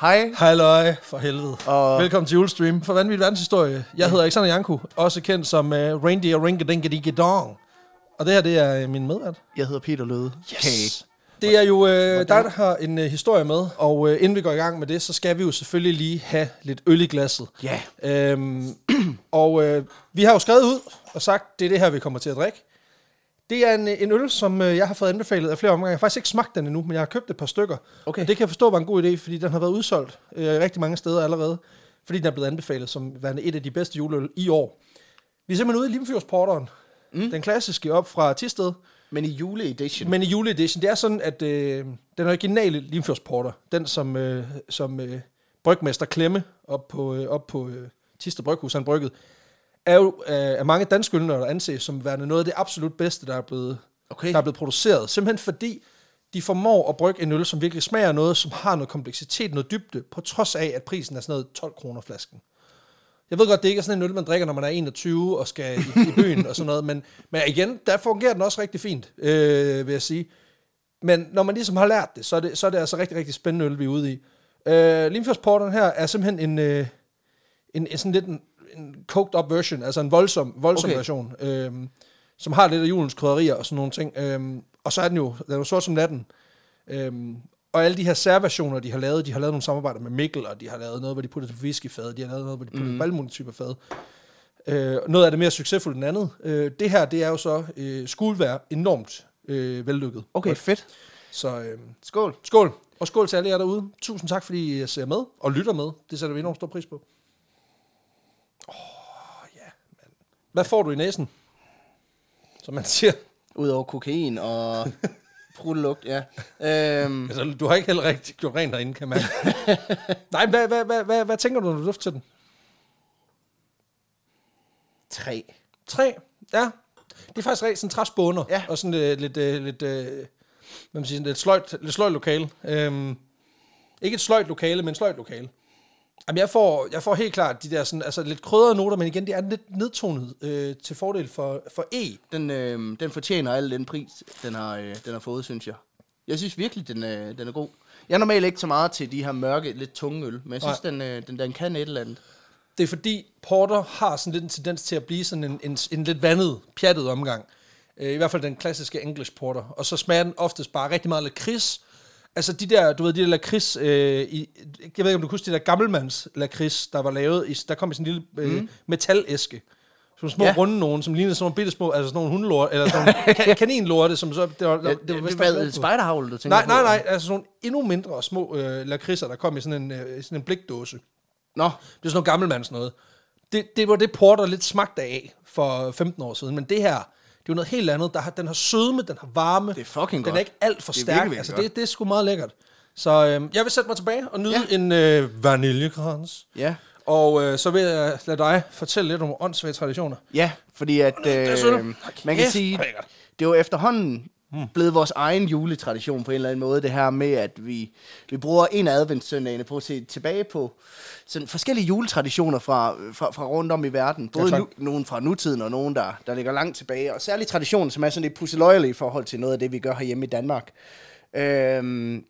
Hej. Hej løje, for helvede. Og- Og... Velkommen til Julestream for Vanvittig Verdenshistorie. Jeg hedder Alexander Janku, også kendt som uh, Reindeer Ringa Dong. Og det her, det er øh, min medvært. Jeg hedder Peter Løde. Kage. Det er jo øh, dig, der har en øh, historie med, og øh, inden vi går i gang med det, så skal vi jo selvfølgelig lige have lidt øl i glasset. Ja. Øhm, og øh, vi har jo skrevet ud og sagt, det er det her, vi kommer til at drikke. Det er en, øh, en øl, som øh, jeg har fået anbefalet af flere omgange. Jeg har faktisk ikke smagt den endnu, men jeg har købt et par stykker. Okay. Og det kan jeg forstå var en god idé, fordi den har været udsolgt øh, rigtig mange steder allerede. Fordi den er blevet anbefalet som værende et af de bedste juleøl i år. Vi er simpelthen ude i Limfjordsporteren. Mm. Den klassiske op fra Tisted. Men i juleedition. Men i juleedition, det er sådan, at øh, den originale Limfjordsporter, den som, øh, som øh, brygmester Klemme op på, øh, op på øh, Tister Bryghus, han brygget, er jo øh, af mange danske ølnørder anses som værende noget af det absolut bedste, der er blevet, Okay. der er blevet produceret. Simpelthen fordi, de formår at brygge en øl, som virkelig smager af noget, som har noget kompleksitet, noget dybde, på trods af, at prisen er sådan noget 12 kroner flasken. Jeg ved godt, det ikke er sådan en øl, man drikker, når man er 21 og skal i, i byen og sådan noget, men, men igen, der fungerer den også rigtig fint, øh, vil jeg sige. Men når man ligesom har lært det, så er det, så er det altså rigtig, rigtig spændende øl, vi er ude i. Øh, Limfjordsporteren her er simpelthen en, øh, en, en sådan lidt en, en coked up version, altså en voldsom, voldsom Okay. okay. version, øh, som har lidt af julens krydderier og sådan nogle ting. Øh, og så er den jo, den er jo sort som natten. Øhm, og alle de her særversioner, de har lavet, de har lavet nogle samarbejder med Mikkel, og de har lavet noget, hvor de putter det på whiskyfad, de har lavet noget, hvor de putter mm. det Mhm. på alle mulige typer fad. Øh, noget af det mere succesfuldt end andet. Øh, det her, det er jo så, øh, skulle være enormt øh, vellykket. Okay, fedt. Så øh, Skål. skål. Og skål til alle jer derude. Tusind tak, fordi I ser med og lytter med. Det sætter vi enormt stor pris på. Åh, oh, ja, mand. Hvad får du i næsen? Som man siger. Udover kokain og pruttelugt, ja. Øhm, Altså, du har ikke heller rigtig gjort rent derinde, kan man. Nej, hvad, hvad, hvad, hvad, hvad tænker du, når du dufter til den? tre. Tre? Ja. Det er faktisk rigtig sådan træsbåner. Ja. Og sådan øh, lidt, øh, lidt, øh, hvad man siger, sådan lidt sløjt, lidt sløjt lokale. Øhm, ikke et sløjt lokale, men sløjt lokale. Jamen, jeg får, jeg får helt klart de der sådan, altså lidt krydrede noter, men igen, det er lidt nedtonet øh, til fordel for, for E. Den, øh, den fortjener al den pris, den har, øh, den har fået, synes jeg. Jeg synes virkelig, den, øh, den er god. Jeg er normalt ikke så meget til de her mørke, lidt tunge øl, men jeg synes, den, øh, den, den kan et eller andet. Det er fordi Porter har sådan lidt en tendens til at blive sådan en, en, en lidt vandet, pjattet omgang. Øh, I hvert fald den klassiske English Porter. Og så smager den oftest bare rigtig meget lakrids. Altså de der, du ved, de der lakrids, øh, i, jeg ved ikke om du kan huske de der gammelmands lakrids, der var lavet, i, der kom i sådan en lille øh, mm. metalæske. Som små Ja. ja. runde nogen, som lignede sådan nogle bitte små, altså sådan nogle hundelorte, eller sådan nogle ka- kaninlorte, som så, det var, det var, Det, det, vist nok det var lavet på- spejderhavl, du tænker Nej, på. nej, nej, altså sådan nogle endnu mindre små øh, lakridser, der kom i sådan en, øh, sådan en blikdåse. Nå, Det er sådan noget gammelmands noget. Det, det var det porter lidt smagte af for 15 år siden, men det her, det er jo noget helt andet. Der har, den har sødme, den har varme. Det er fucking Den godt. er ikke alt for Det er stærk. virkelig, virkelig altså, godt. det, det er sgu meget lækkert. Så øhm, jeg vil sætte mig tilbage og nyde ja. en øh, vaniljekrans. ja. Og øh, så vil jeg lade dig fortælle lidt om åndssvage traditioner. Ja, fordi at, sødt. øh, Hold man kan kæft, sige, hvor lækkert. det er jo efterhånden Hmm. blevet vores egen juletradition på en eller anden måde, det her med, at vi, vi bruger en af adventssøndagene på at se tilbage på sådan forskellige juletraditioner fra, fra, fra rundt om i verden. Både tak. nu, nogen fra nutiden og nogen, der, der ligger langt tilbage. Og særligt traditionen, som er sådan lidt pusseløjelig i forhold til noget af det, vi gør herhjemme i Danmark. Øhm,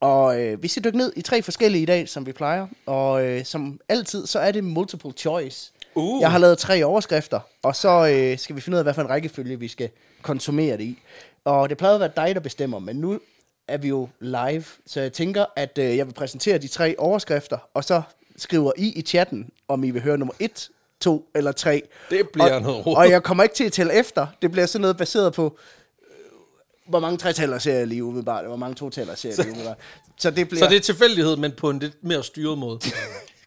og øh, vi skal dykke ned i tre forskellige i dag, som vi plejer. Og øh, som altid, så er det multiple choice. Uh. Jeg har lavet tre overskrifter, og så øh, skal vi finde ud af, hvad for en rækkefølge vi skal konsumere det i. Og det plejede at være dig, der bestemmer, men nu er vi jo live, så jeg tænker, at øh, jeg vil præsentere de tre overskrifter, og så skriver I i chatten, om I vil høre nummer et, to eller tre. Det bliver og, noget rod. Og jeg kommer ikke til at tælle efter. Det bliver sådan noget baseret på, øh, hvor mange tretaller ser jeg lige umiddelbart, og hvor mange totaller ser jeg lige umiddelbart. Så det bliver... Så det er tilfældighed, men på en lidt mere styret måde.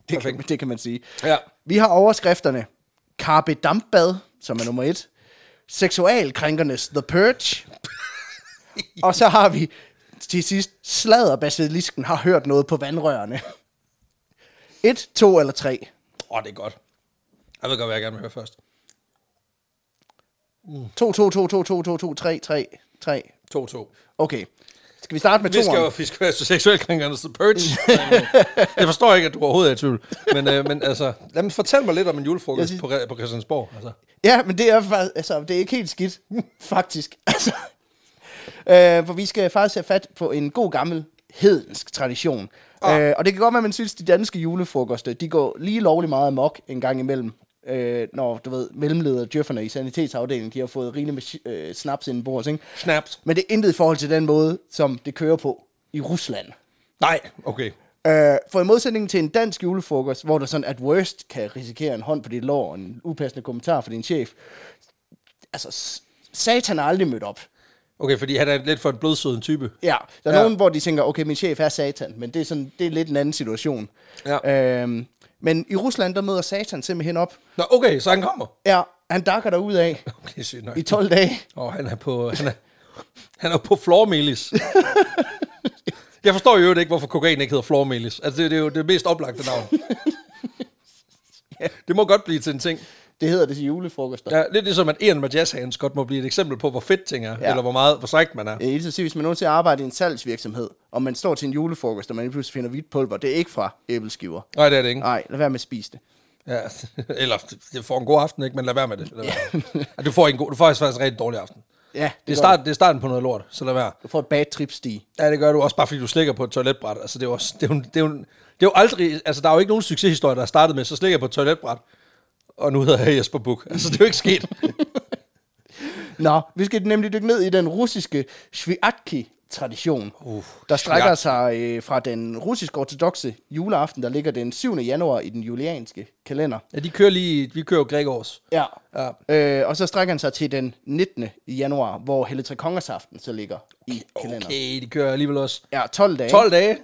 det, kan, det kan man sige. Ja. Vi har overskrifterne. Carpe Dampbad, som er nummer et. Seksualkrænkernes The Purge. og så har vi til sidst sladderbasilisken har hørt noget på vandrørene. Et, to eller tre. Åh, oh, det er godt. Jeg ved godt, hvad jeg gerne vil høre først. To, to, to, to, to, to, to, tre, tre, tre. 2-2. Okay. Skal vi starte med Vi skal, jo, toeren? vi skal være seksuelt krænkende The Purge. jeg forstår ikke, at du overhovedet er i tvivl. Men, øh, men altså, lad mig fortælle mig lidt om en julefrokost synes- på, Re- på Christiansborg. Altså. Ja, men det er, faktisk, altså, det er ikke helt skidt, faktisk. Altså, øh, for vi skal faktisk have fat på en god gammel hedensk tradition. Ah. Øh, og det kan godt være, at man synes, at de danske julefrokoster, de går lige lovlig meget amok en gang imellem. Øh, når, du ved, mellemleder djøfferne i sanitetsafdelingen, de har fået rigeligt med shi- øh, snaps inden bords, ikke? Snaps. Men det er intet i forhold til den måde, som det kører på i Rusland. Nej, okay. Øh, for i modsætning til en dansk julefrokost, hvor der sådan at worst kan risikere en hånd på dit lår og en upassende kommentar fra din chef, altså, s- satan er aldrig mødt op. Okay, fordi han er lidt for en blodsøden type. Ja, der er Ja. ja. nogen, hvor de tænker, okay, min chef er satan, men det er, sådan, det er lidt en anden situation. Ja. Øhm, men i Rusland, der møder satan simpelthen op. Nå, okay, så han kommer. Ja, han dakker der ud af Okay, sygt nok. i 12 dage. Og han er på, han er, han er på floormelis. Jeg forstår jo ikke, hvorfor kokain ikke hedder floormelis. Altså, det, det er jo det mest oplagte navn. Det må godt blive til en ting. Det hedder det til julefrokoster. Ja. Ja, lidt ligesom, at en med jazzhands godt må blive et eksempel på, hvor fedt ting er, ja. Ja. eller hvor meget, hvor strækt man er. Jeg vil sige, hvis man nogensinde arbejder i en salgsvirksomhed, og man står til en julefrokost, og man lige pludselig finder hvidt pulver, det er ikke fra æbleskiver. Nej, det er det ikke. Nej, lad være med at spise det. Ja. Eller, det får en god aften, ikke? Men lad være med det. Lad være. Ja. Du får ikke en god, du får faktisk faktisk en rigtig dårlig aften. Ja, Det er, gør start, det er starten på noget lort, så lad være. Du får et bad trip stige. Ja, det gør du også bare, fordi du slikker på et toiletbræt. Altså, det er jo, også, det er jo, det er jo, det er jo aldrig... Altså, der er jo ikke nogen succeshistorie, der er startet med, så slikker jeg på et toiletbræt, og nu hedder jeg Jesper Buk. Altså, det er jo ikke sket. Nå, vi skal nemlig dykke ned i den russiske sviatki-tradition, Uh, der strækker sig øh, fra den russisk ortodoxe juleaften, der ligger den 7. januar i den julianske kalender. ja, de kører lige... Vi kører jo Gregors. Ja. Ja. Øh, og så strækker han sig til den 19. januar, hvor Helle Tre Kongersaften så ligger i kalenderen. Okay. Okay, de kører alligevel også. Ja, 12 dage. 12 dage.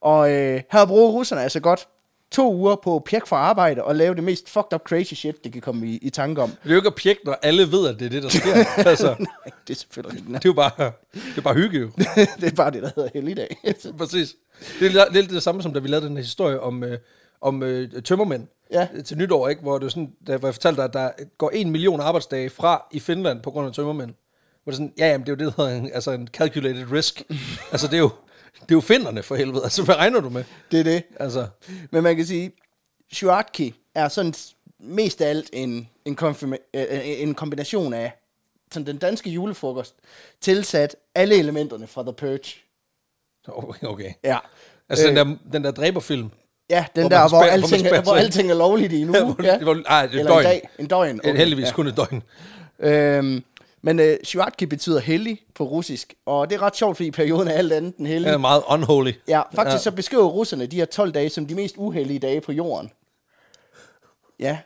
Og øh, her bruger russerne altså godt to uger på at pjekke fra arbejde og lave det mest fucked up crazy shit, det kan komme i, i tanke om. Det er jo ikke at pjekke, når alle ved, at det er det, der sker. altså, Nej, det er selvfølgelig ikke. det er jo bare, det er bare hygge, jo. det er bare det, der hedder helligdag. Præcis. Det er lidt- lidt det samme, som da vi lavede den her historie om, øh, om øh, tømmermænd Ja. til nytår, ikke? Hvor, det er sådan, der, hvor jeg fortalte dig, at der går en million arbejdsdage fra i Finland på grund af tømmermænd. Hvor det er sådan, ja, jamen, det er jo det, der hedder en, altså en calculated risk. altså, det er jo, det er jo finderne for helvede. Altså, hvad regner du med? det er det. Altså, Men man kan sige, Shuatki er sådan s- mest af alt en, en, konfirma- øh, øh, en kombination af sådan den danske julefrokost, tilsat alle elementerne fra The Purge. okay. okay. Ja. Altså, øh, Øh, den, der, den der dræberfilm. Ja, den hvor hvor man der, hvor, spæ- hvor man alting, spærer hvor, hvor sig ind. alting er lovligt i nu. Ja, hvor- hvor- ej, det er Eller døgn. en dag. En døgn. Okay, heldigvis kun et døgn. Ja. Øhm, men øh, Shuatki betyder hellig på russisk, og det er ret sjovt, fordi perioden er alt andet end hellig. Den er meget unholy. Ja, faktisk ja. så beskriver russerne de her 12 dage som de mest uheldige dage på jorden. Ja,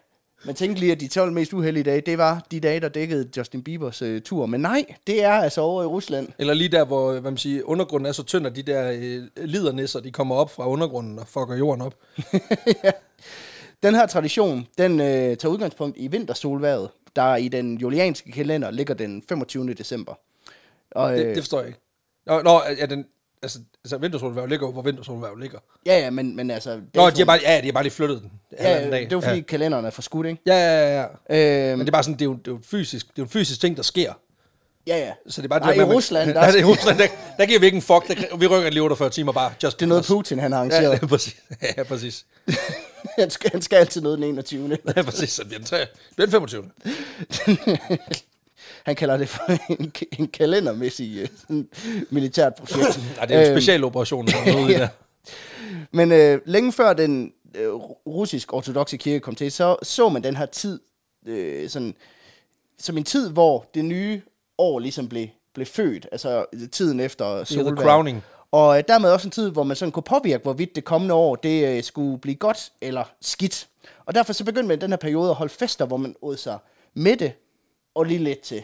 man tænkte lige, at de 12 mest uheldige dage, det var de dage, der dækkede Justin Biebers øh, tur. Men nej, det er altså over i Rusland. Eller lige der, hvor hvad man siger, undergrunden er så tynd, at de der øh, lidernisser, de kommer op fra undergrunden og fucker jorden op. Den her tradition, den øh, tager udgangspunkt i vintersolværet, der i den julianske kalender ligger den 25. december. Og, Det, øh, det forstår jeg ikke. Nå, nå er den, altså, altså vintersolværv ligger jo, hvor vintersolværv ligger. ja, ja, men, men altså... Nå, datoen- de har bare, ja, de har bare lige flyttet den. halvanden ja, det var fordi ja. kalenderen er forskudt, ikke? Ja, ja, ja, ja. Øhm, Men det er bare sådan, det er jo, det er jo, fysisk, det er jo en fysisk ting, der sker. ja, ja. Så det er bare Nej, det der i med- Rusland, der, der, der, i Rusland, der, der giver vi ikke en fuck. Der, vi rykker lige 48 timer bare. Just det er noget Putin, han har ja, arrangeret. ja, præcis. Ja, præcis. han, skal, han skal altid noget den 21. Ja, præcis. Så bliver den, tre, bliver den 25. han kalder det for en, en kalendermæssig øh, sådan, militært projekt. Nej, det er jo en Øhm, specialoperation. der er noget i ja. der. Men øh, længe før den øh, russisk ortodoxe kirke kom til, så så man den her tid øh, sådan, som en tid, hvor det nye år ligesom blev, blev født, altså tiden efter solvalget. crowning. Og øh, dermed også en tid, hvor man sådan kunne påvirke, hvorvidt det kommende år det øh, skulle blive godt eller skidt. Og derfor så begyndte man i den her periode at holde fester, hvor man åd sig mætte og lige lidt til.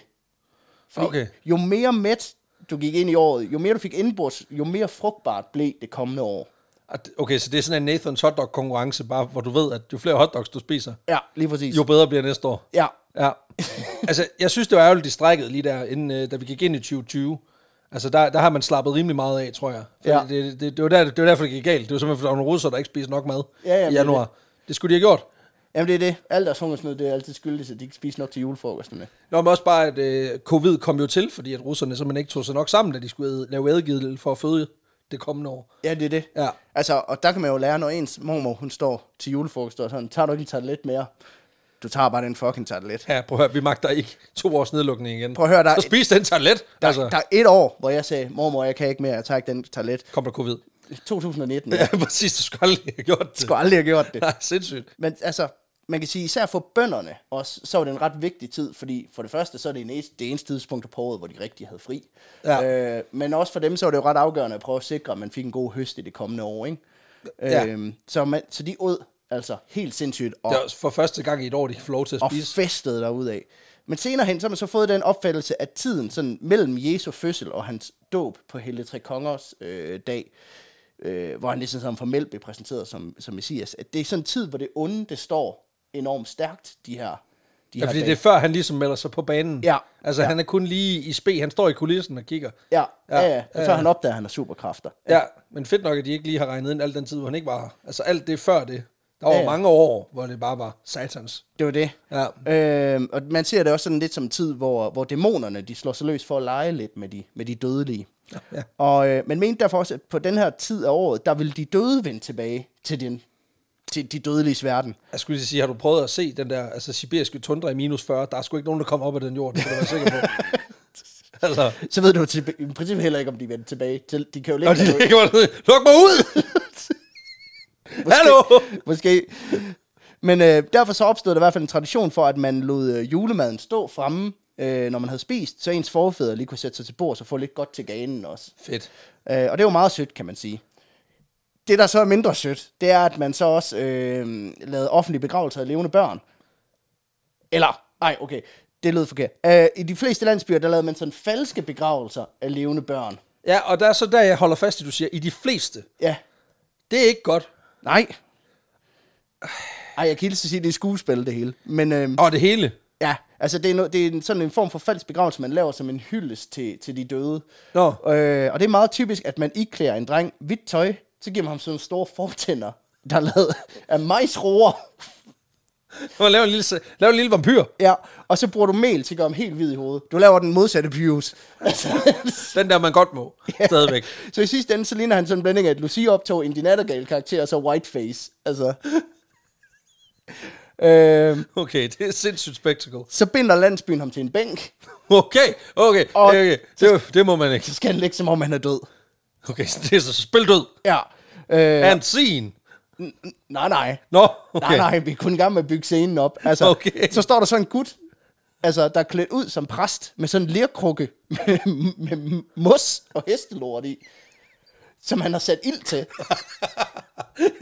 Fordi Okay. okay. jo mere mæt du gik ind i året, jo mere du fik indbords, jo mere frugtbart blev det kommende år. At- Okay, så det er sådan en Nathans hotdog-konkurrence, bare hvor du ved, at jo flere hotdogs du spiser, Ja, lige præcis. jo bedre bliver næste år. Ja, Ja. altså, jeg synes, det var ærgerligt, de strækkede lige der, inden, øh, da vi gik ind i 2020. Altså, der, der har man slappet rimelig meget af, tror jeg. Fordi Ja. det, det, det, var der, det var derfor, det gik galt. Det var simpelthen, fordi der var nogle russere, der ikke spiste nok mad Ja, ja, i men januar. Det. det skulle de have gjort. jamen det er det. Alt deres hungersnød, det er altid skyldigt, at de ikke spiser nok til julefrokosterne. Nå, men også bare, at øh, covid kom jo til, fordi at russerne simpelthen ikke tog sig nok sammen, da de skulle æde- lave adgivelse for at føde det kommende år. Ja, det er det. Ja. Altså, og der kan man jo lære, når ens mormor, hun står til julefrokost og sådan, tager du ikke en tartelet mere? Du tager bare den fucking tartelet. Ja, prøv at høre, vi magter ikke to års nedlukning igen. Prøv at høre, der er- Så spis den tarlet, Der, altså, der er et år, hvor jeg sagde, mormor, jeg kan ikke mere, jeg tager ikke den tartelet. kom der covid. 2019. Ja, Jeg præcis. Du skulle aldrig have gjort det. skulle aldrig have gjort det. Nej, sindssygt. Men altså, man kan sige, især for bønderne også, så var det en ret vigtig tid, fordi for det første, så er det en eneste, det eneste tidspunkt på året, hvor de rigtig havde fri. Ja. Øh, men også for dem, så var det jo ret afgørende at prøve at sikre, at man fik en god høst i det kommende år, ikke? Ja. Øhm, så, man, så de åd altså helt sindssygt, og Det er også for første gang i et år, de kan få lov til at og spise. festede derudad. Men senere hen, så har man så fået den opfattelse, at tiden sådan, mellem Jesu fødsel og hans dåb på Hellig Tre Kongers øh, dag, øh, hvor han ligesom sådan formelt blev præsenteret som, som messias, at det er sådan en tid, hvor det onde, det står enormt stærkt, de her, de Ja, her fordi dage. det er før, han ligesom melder sig på banen. Ja. Altså, Ja. han er kun lige i spe. Han står i kulissen og kigger. Ja, ja, ja, ja, ja. før han opdager, at han har superkræfter. Ja, men fedt nok, at de ikke lige har regnet ind al den tid, hvor han ikke var her. Altså, alt det før det. Der var Ja, ja. mange år, hvor det bare var satans. Det var det. Ja. Øhm, og man ser det også sådan lidt som en tid, hvor, hvor dæmonerne de slår sig løs for at lege lidt med de, med de dødelige. Ja. Og øh, man mente derfor også, at på den her tid af året, der vil de døde vende tilbage til, den, til de dødeliges verden. Jeg skulle lige sige, har du prøvet at se den der altså, sibiriske tundra i minus 40? Der er sgu ikke nogen, der kommer op af den jord, det kan du være sikker på. altså, Så ved du til, i princippet heller ikke, om de vender tilbage. Til, de kan jo og ligge de derude. ligger bare nede, luk mig ud! Hallo! Måske. Men øh, derfor så opstod der i hvert fald en tradition for, at man lod øh, julemaden stå fremme, øh, når man havde spist, så ens forfædre lige kunne sætte sig til bord og få lidt godt til ganen også. Fedt. Øh, og det er jo meget sødt, kan man sige. Det, der så er mindre sødt, det er, at man så også øh, lavede offentlige begravelser af levende børn. Eller, nej, okay, det lød forkert. Øh, I de fleste landsbyer, der lavede man sådan falske begravelser af levende børn. Ja, og der er så der, jeg holder fast i, du siger, i de fleste. Ja, Det er ikke godt. nej. Ej, jeg kan hilse at sige, at det er skuespil, det hele. Men øh, Og det hele. ja, altså det er, no, det er en, sådan en form for falsk begravelse, man laver som en hyldest til, til de døde. Nå, Øh, og det er meget typisk, at man iklæder en dreng hvidt tøj, så giver man ham sådan nogle store fortænder, der er lavet af majsroer. nu laver en lille, se- lav en lille vampyr. Ja, og så bruger du mel til at gøre ham helt hvid i hovedet. Du laver den modsatte Pius. Altså, Den der, man godt må. Stadigvæk. så i sidste ende, så ligner han sådan en blanding af et Lucia-optog, en Dinattergale-karakter og så Whiteface. Altså. Øhm, Okay, det er sindssygt spectacle. så binder landsbyen ham til en bænk, Okay, okay, Og- okay. Det, det må man ikke. så skal han ligge, som om han er død. Okay, så det er så spil død. Ja. Øh, And scene. nej, nej. Nå, okay. Okay. Nej, nej, vi er kun i gang med at bygge scenen op. Altså, Okay. Så står der sådan en gut, altså, der er klædt ud som præst, med sådan en lerkrukke med, med mos og hestelort i, som han har sat ild til.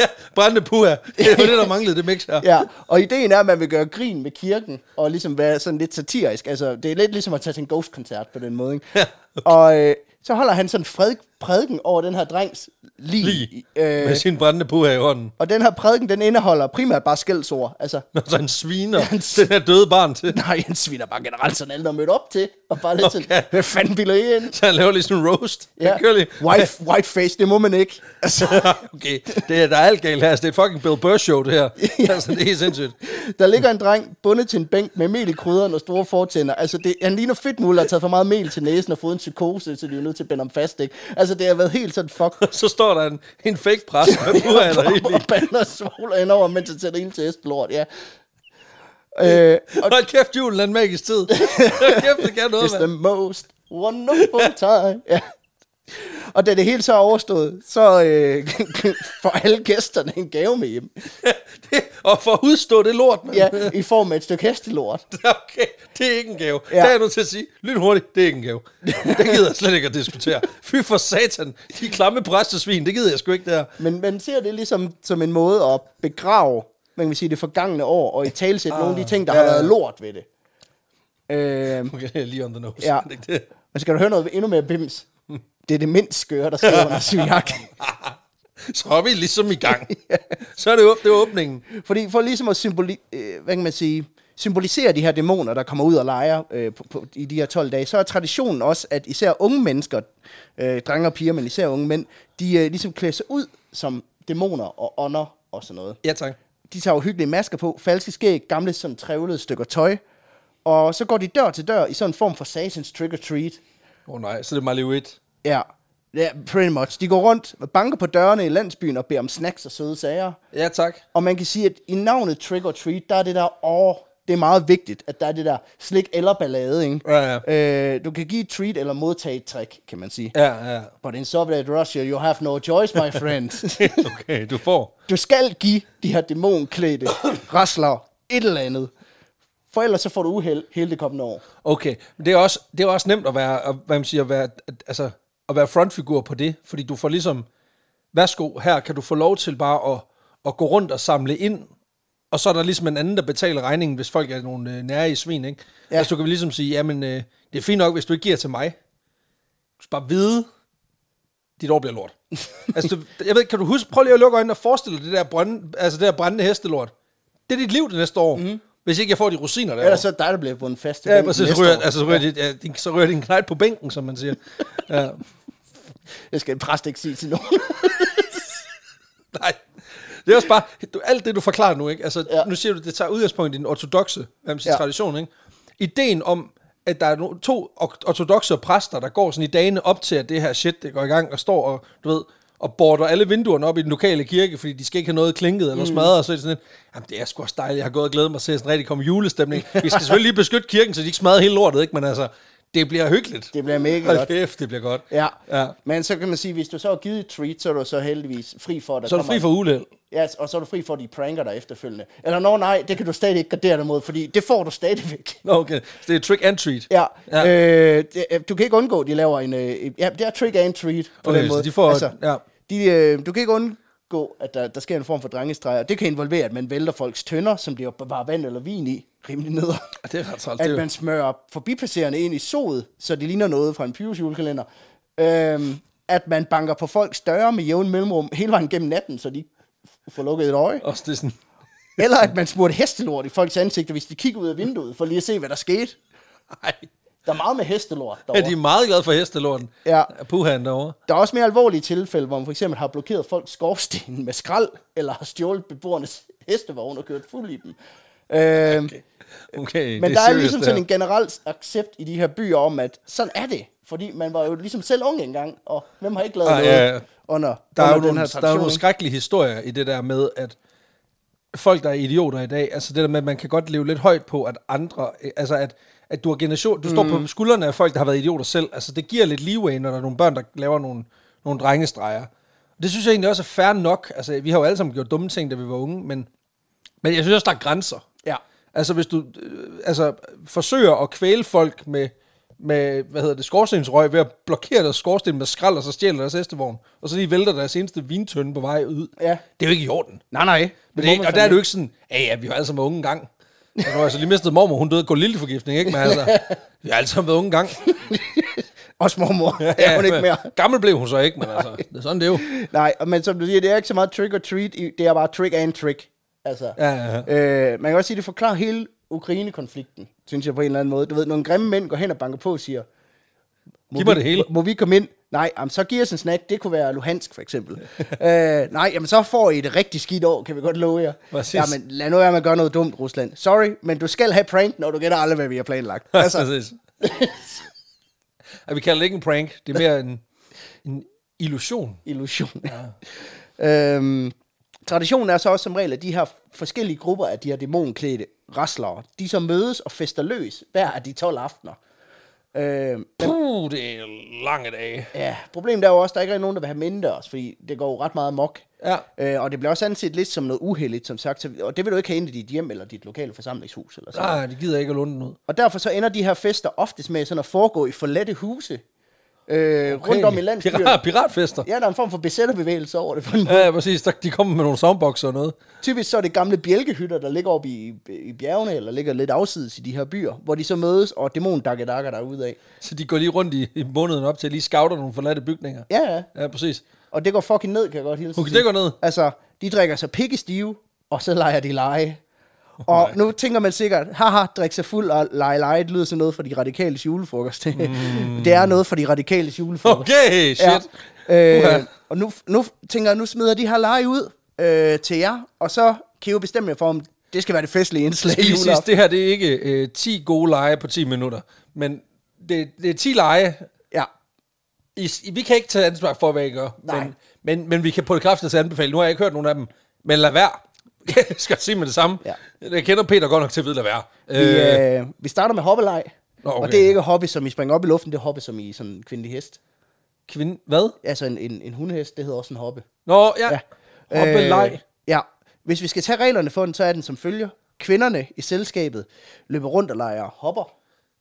Ja, brændende puha. Det var det, der manglede det mix her. Ja, og ideen er, at man vil gøre grin med kirken, og ligesom være sådan lidt satirisk. Altså, det er lidt ligesom at tage til en ghost-koncert på den måde, ikke? Ja, okay. Og øh, så holder han sådan fred, prædiken over den her drengs lige. Lige Øh, med sin brændende puha i hånden. og den her prædiken, den indeholder primært bare skældsord. Altså, Når så han sviner den her døde barn til. Nej, han sviner bare generelt sådan alle, der er mødt op til. Og bare lidt okay. Okay. sådan, hvad fanden bilder I ind? Så han laver lige sådan en roast. Ja. Kører lige. White, whiteface, det må man ikke. Altså, okay, det er, der er alt galt her. Altså, det er et fucking Bill Burr show, det her. Altså, det er sindssygt. der ligger en dreng bundet til en bænk med mel i krydderen og store fortænder. Altså, det, han ligner fedt muligt, har taget for meget mel til næsen og fået en psykose, så de er nødt til at binde ham fast, ikke? Altså, det har været helt sådan, fuck. Så står der en, en fake pres med puha og, der og, helt i. og bander og svogler indover, mens han sætter ild til hestelort, ja. Øh, Hold kæft, julen er en magisk tid. Hold kæft, det kan noget, It's the mand. most wonderful time. Ja. Og da det hele så er overstået, så øh, får alle gæsterne en gave med hjem. Det- Og for at udstå det lort, mand. Ja, i form af et stykke hestelort. Okay, det er ikke en gave. Ja. Ja. Der er jeg nødt til at sige, lyt hurtigt, det er ikke en gave. Det gider jeg slet ikke at diskutere. Fy for satan, de klamme præstesvin, det gider jeg sgu ikke der. Men man ser det ligesom som en måde at begrave, man kan sige, det forgangne år, og i talsætte nogle af de ting, der Ah, ja. har været lort ved det. Øh, Okay, det er lige on the nose. Ja. er det ikke det? men skal du høre noget endnu mere bims? Det er det mindst skøre, der sker under Sivjak. Så er vi ligesom i gang. Så er det, åb- det er åbningen. Fordi for ligesom at symboli- øh, hvad kan man sige, symbolisere de her dæmoner, der kommer ud og leger øh, på, på, i de her 12 dage, så er traditionen også, at især unge mennesker, øh, drenge og piger, men især unge mænd, de øh, ligesom klæder sig ud som dæmoner og ånder og sådan noget. Ja, tak. De tager jo hyggelige masker på, falske skæg, gamle sådan trævlede stykker tøj, og så går de dør til dør i sådan en form for satans trick-or-treat. Åh oh, nej, så er det Malibu 1. Ja, ja, pretty much. De går rundt og banker på dørene i landsbyen og beder om snacks og søde sager. Ja, tak. Og man kan sige, at i navnet Trick or Treat, der er det der år, Det er meget vigtigt, at der er det der slik eller ballade, ikke? Ja, Øh, du kan give et treat eller modtage et trick, kan man sige. Ja, ja. But in Soviet Russia, you have no choice, my friend. Okay, du får. du skal give de her dæmonklædte rasler et eller andet. For ellers så får du uheld hele det kommende år. Okay, men det er også, det er også nemt at være, at, hvad man siger, at være, at, altså, at være frontfigur på det, fordi du får ligesom, værsgo, her kan du få lov til bare at, at gå rundt og samle ind, og så er der ligesom en anden, der betaler regningen, hvis folk er nogle øh, nære i svin, ikke? Ja. Ja. Altså, du kan ligesom sige, jamen, øh, det er fint nok, hvis du ikke giver til mig. Du skal bare vide, dit år bliver lort. altså, du, jeg ved, ikke, kan du huske, prøv lige at lukke øjnene og forestille dig det der, brønde, altså det der brændende hestelort. Det er dit liv det næste år, mm. hvis ikke jeg får de rosiner der. Ellers så er det dig, der bliver bundet fast. til Ja, den præcis. Så næste ryger, år. altså, så, ryger de, ja, de, så ryger de en knejt på bænken, som man siger. Ja. altså- Det skal en præst ikke sige til nogen. Nej. Det er også bare, du, alt det du forklarer nu, ikke? Altså, ja. Ja. nu siger du, det tager udgangspunkt i den ortodoxe hvad man siger, ja. Ja. tradition, ikke? Ideen om, at der er no, to or- ortodoxe præster, der går sådan i dagene op til, at det her shit, det går i gang, og står og, du ved, og border alle vinduerne op i den lokale kirke, fordi de skal ikke have noget klinket Mm. eller smadret, og så er det sådan lidt, jamen det er sgu også dejligt, jeg har gået og glædet mig til, at sådan rigtig komme julestemning. Vi skal selvfølgelig lige beskytte kirken, så de ikke smadrer hele lortet, ikke? Men altså, det bliver hyggeligt. Det bliver mega Hold godt. kæft, det bliver godt. Ja. Ja. ja. Men så kan man sige, hvis du så har givet et treat, så er du så heldigvis fri for, at der Så er du kommer... fri for uheld. Ja, og så er du fri for de pranker der efterfølgende. Eller nå nej, det kan du stadig ikke gardere dig mod, fordi det får du stadigvæk. Nå, okay. Så det er trick and treat. Ja, Ja. ja. Øh, det, øh, du kan ikke undgå, at de laver en... Øh, ja, det er trick and treat på Okay, den så måde. Altså, de får- ja. de, øh, du kan ikke undgå, at der, der sker en form for drengestreger. Det kan involvere, at man vælter folks tønder, som de jo bare vand eller vin i, rimelig ned. Ja, Det er ret trælt. At Det er, man smører forbipasserende ind i sodet, så det ligner noget fra en Pyrus julekalender. Øhm, at man banker på folks døre med jævn mellemrum hele vejen gennem natten, så de ikke f- får lukket et øje. også det er sådan, Eller at man smurte hestelort i folks ansigter, hvis de kigger ud af vinduet, for lige at se, hvad der skete. ej, Der er meget med hestelort ja, derovre. de er meget glade for hestelorten. Ja. Puhan derovre. Der er også mere alvorlige tilfælde, hvor man for eksempel har blokeret folks skorsten med skrald, eller har stjålet beboernes hestevogn og kørt fuld i dem. Øhm, okay. Okay, det Men der er, er seriøst, ligesom det sådan her. en generel accept i de her byer om, at sådan er det. Fordi man var jo ligesom selv ung engang, og hvem har ikke lavet Ah, noget ja, ja. under, der er, jo under den nogle, her der er jo tradition? nogle ikke? skrækkelige historier i det der med, at folk, der er idioter i dag, altså det der med, at man kan godt leve lidt højt på, at andre, øh, altså at, at du har generation, du står Mm. på skuldrene af folk, der har været idioter selv, altså det giver lidt leeway, når der er nogle børn, der laver nogle, nogle drengestreger. Og det synes jeg egentlig også er fair nok, altså vi har jo alle sammen gjort dumme ting, da vi var unge, men, men jeg synes også, der er grænser. Ja. Altså hvis du øh, altså, forsøger at kvæle folk med, med hvad hedder det, skorstensrøg ved at blokere deres skorsten med skrald, og så stjæler deres hestevogn, og så lige vælter deres eneste vintønde på vej ud. Ja. Det er jo ikke i orden. Nej, nej. Men det, er ikke- og der er det jo ikke sådan, ja ja, vi har alle sammen været unge engang. Og nu har jeg så lige mistet mormor, hun døde af gorillilforgiftning, ikke? Men altså, vi har alle sammen været unge engang. Også mormor. Ja, ja, hun ikke men mere. Gammel blev hun så ikke, men altså, det er sådan det er jo. Nej, og- men som du siger, det er ikke så meget trick or treat, i- det er bare trick and trick. Altså, Ja, ja, Øh, man kan også sige, at det forklarer hele Ukraine-konflikten, synes jeg på en eller anden måde. Du ved, nogle grimme mænd går hen og banker på og siger, må Giv mig vi, det hele. Må vi komme ind? Nej, jamen, så giver os en snack. Det kunne være Luhansk, for eksempel. øh, nej, jamen, så får I et rigtig skidt år, kan vi godt love jer. Præcis. Jamen, lad nu være med at gøre noget dumt, Rusland. Sorry, men du skal have prank, når du gætter aldrig, hvad vi har planlagt. Altså. Altså, Præcis. ja, vi kalder det ikke en prank, det er mere en, en illusion. illusion. Ja. øhm, traditionen er så også som regel, at de her forskellige grupper af de her dæmonklædte raslere, de så mødes og fester løs hver af de 12 aftener. Øhm, Puh, det er lange dage. ja, problemet er jo også, at der ikke er nogen, der vil have mindre os, fordi det går jo ret meget mok. Ja. Øh, og det bliver også anset lidt som noget uheldigt, som sagt. Så, og det vil du ikke have ind i dit hjem eller dit lokale forsamlingshus. Eller sådan. Nej, det gider jeg ikke at lunde den ud. Og derfor så ender de her fester oftest med sådan at foregå i forladte huse. Øh, okay. Rundt om i landsbyerne. Pirat, piratfester. Ja. Ja, der er en form for besætterbevægelse over det på en måde. ja, præcis. Der, de kommer med nogle soundboxer og noget. Typisk så er det gamle bjælkehytter, der ligger oppe i, i bjergene, eller ligger lidt afsides i de her byer, hvor de så mødes, og dæmonen dakker dakker derude af. Så de går lige rundt i, i måneden op til at lige scouter nogle forladte bygninger. Ja, ja. Ja, præcis. Og det går fucking ned, kan jeg godt hilse. Okay, sige. det går ned. Altså, de drikker sig pikkestive, og så leger de lege. Og Nej. nu tænker man sikkert, haha, drikke sig fuld og lege lege, det lyder som noget for de radikale julefrokost. Mm. det er noget for de radikale julefrokost. Okay, shit. Ja. Uha. Øh, og nu, nu tænker jeg, nu smider jeg de her lege ud øh, til jer, og så kan I jo bestemme jer for, om det skal være det festlige indslag Skal i lige juleaften. sidst, det her det er ikke øh, 10 gode lege på 10 minutter, men det, det er 10 lege. Ja, I, I, vi kan ikke tage ansvar for, hvad I gør, Nej. Men, men, men vi kan på det kraftigste anbefale. Nu har jeg ikke hørt nogen af dem, men lad være. Ja, det skal jeg sige med det samme. Ja. Ja. Jeg kender Peter godt nok til at vide, hvad det er. Øh, Vi, øh, vi starter med hoppeleg. Nå, Okay. Og okay. det er ikke hoppe, som I springer op i luften, det er hoppe, som I sådan en kvindelig hest. kvinde, hvad? Altså en, en, en hundehest, det hedder også en hoppe. Nå, ja. ja. Øh, Hoppeleg. Ja. Hvis vi skal tage reglerne for den, så er den som følger. Kvinderne i selskabet løber rundt og leger hopper.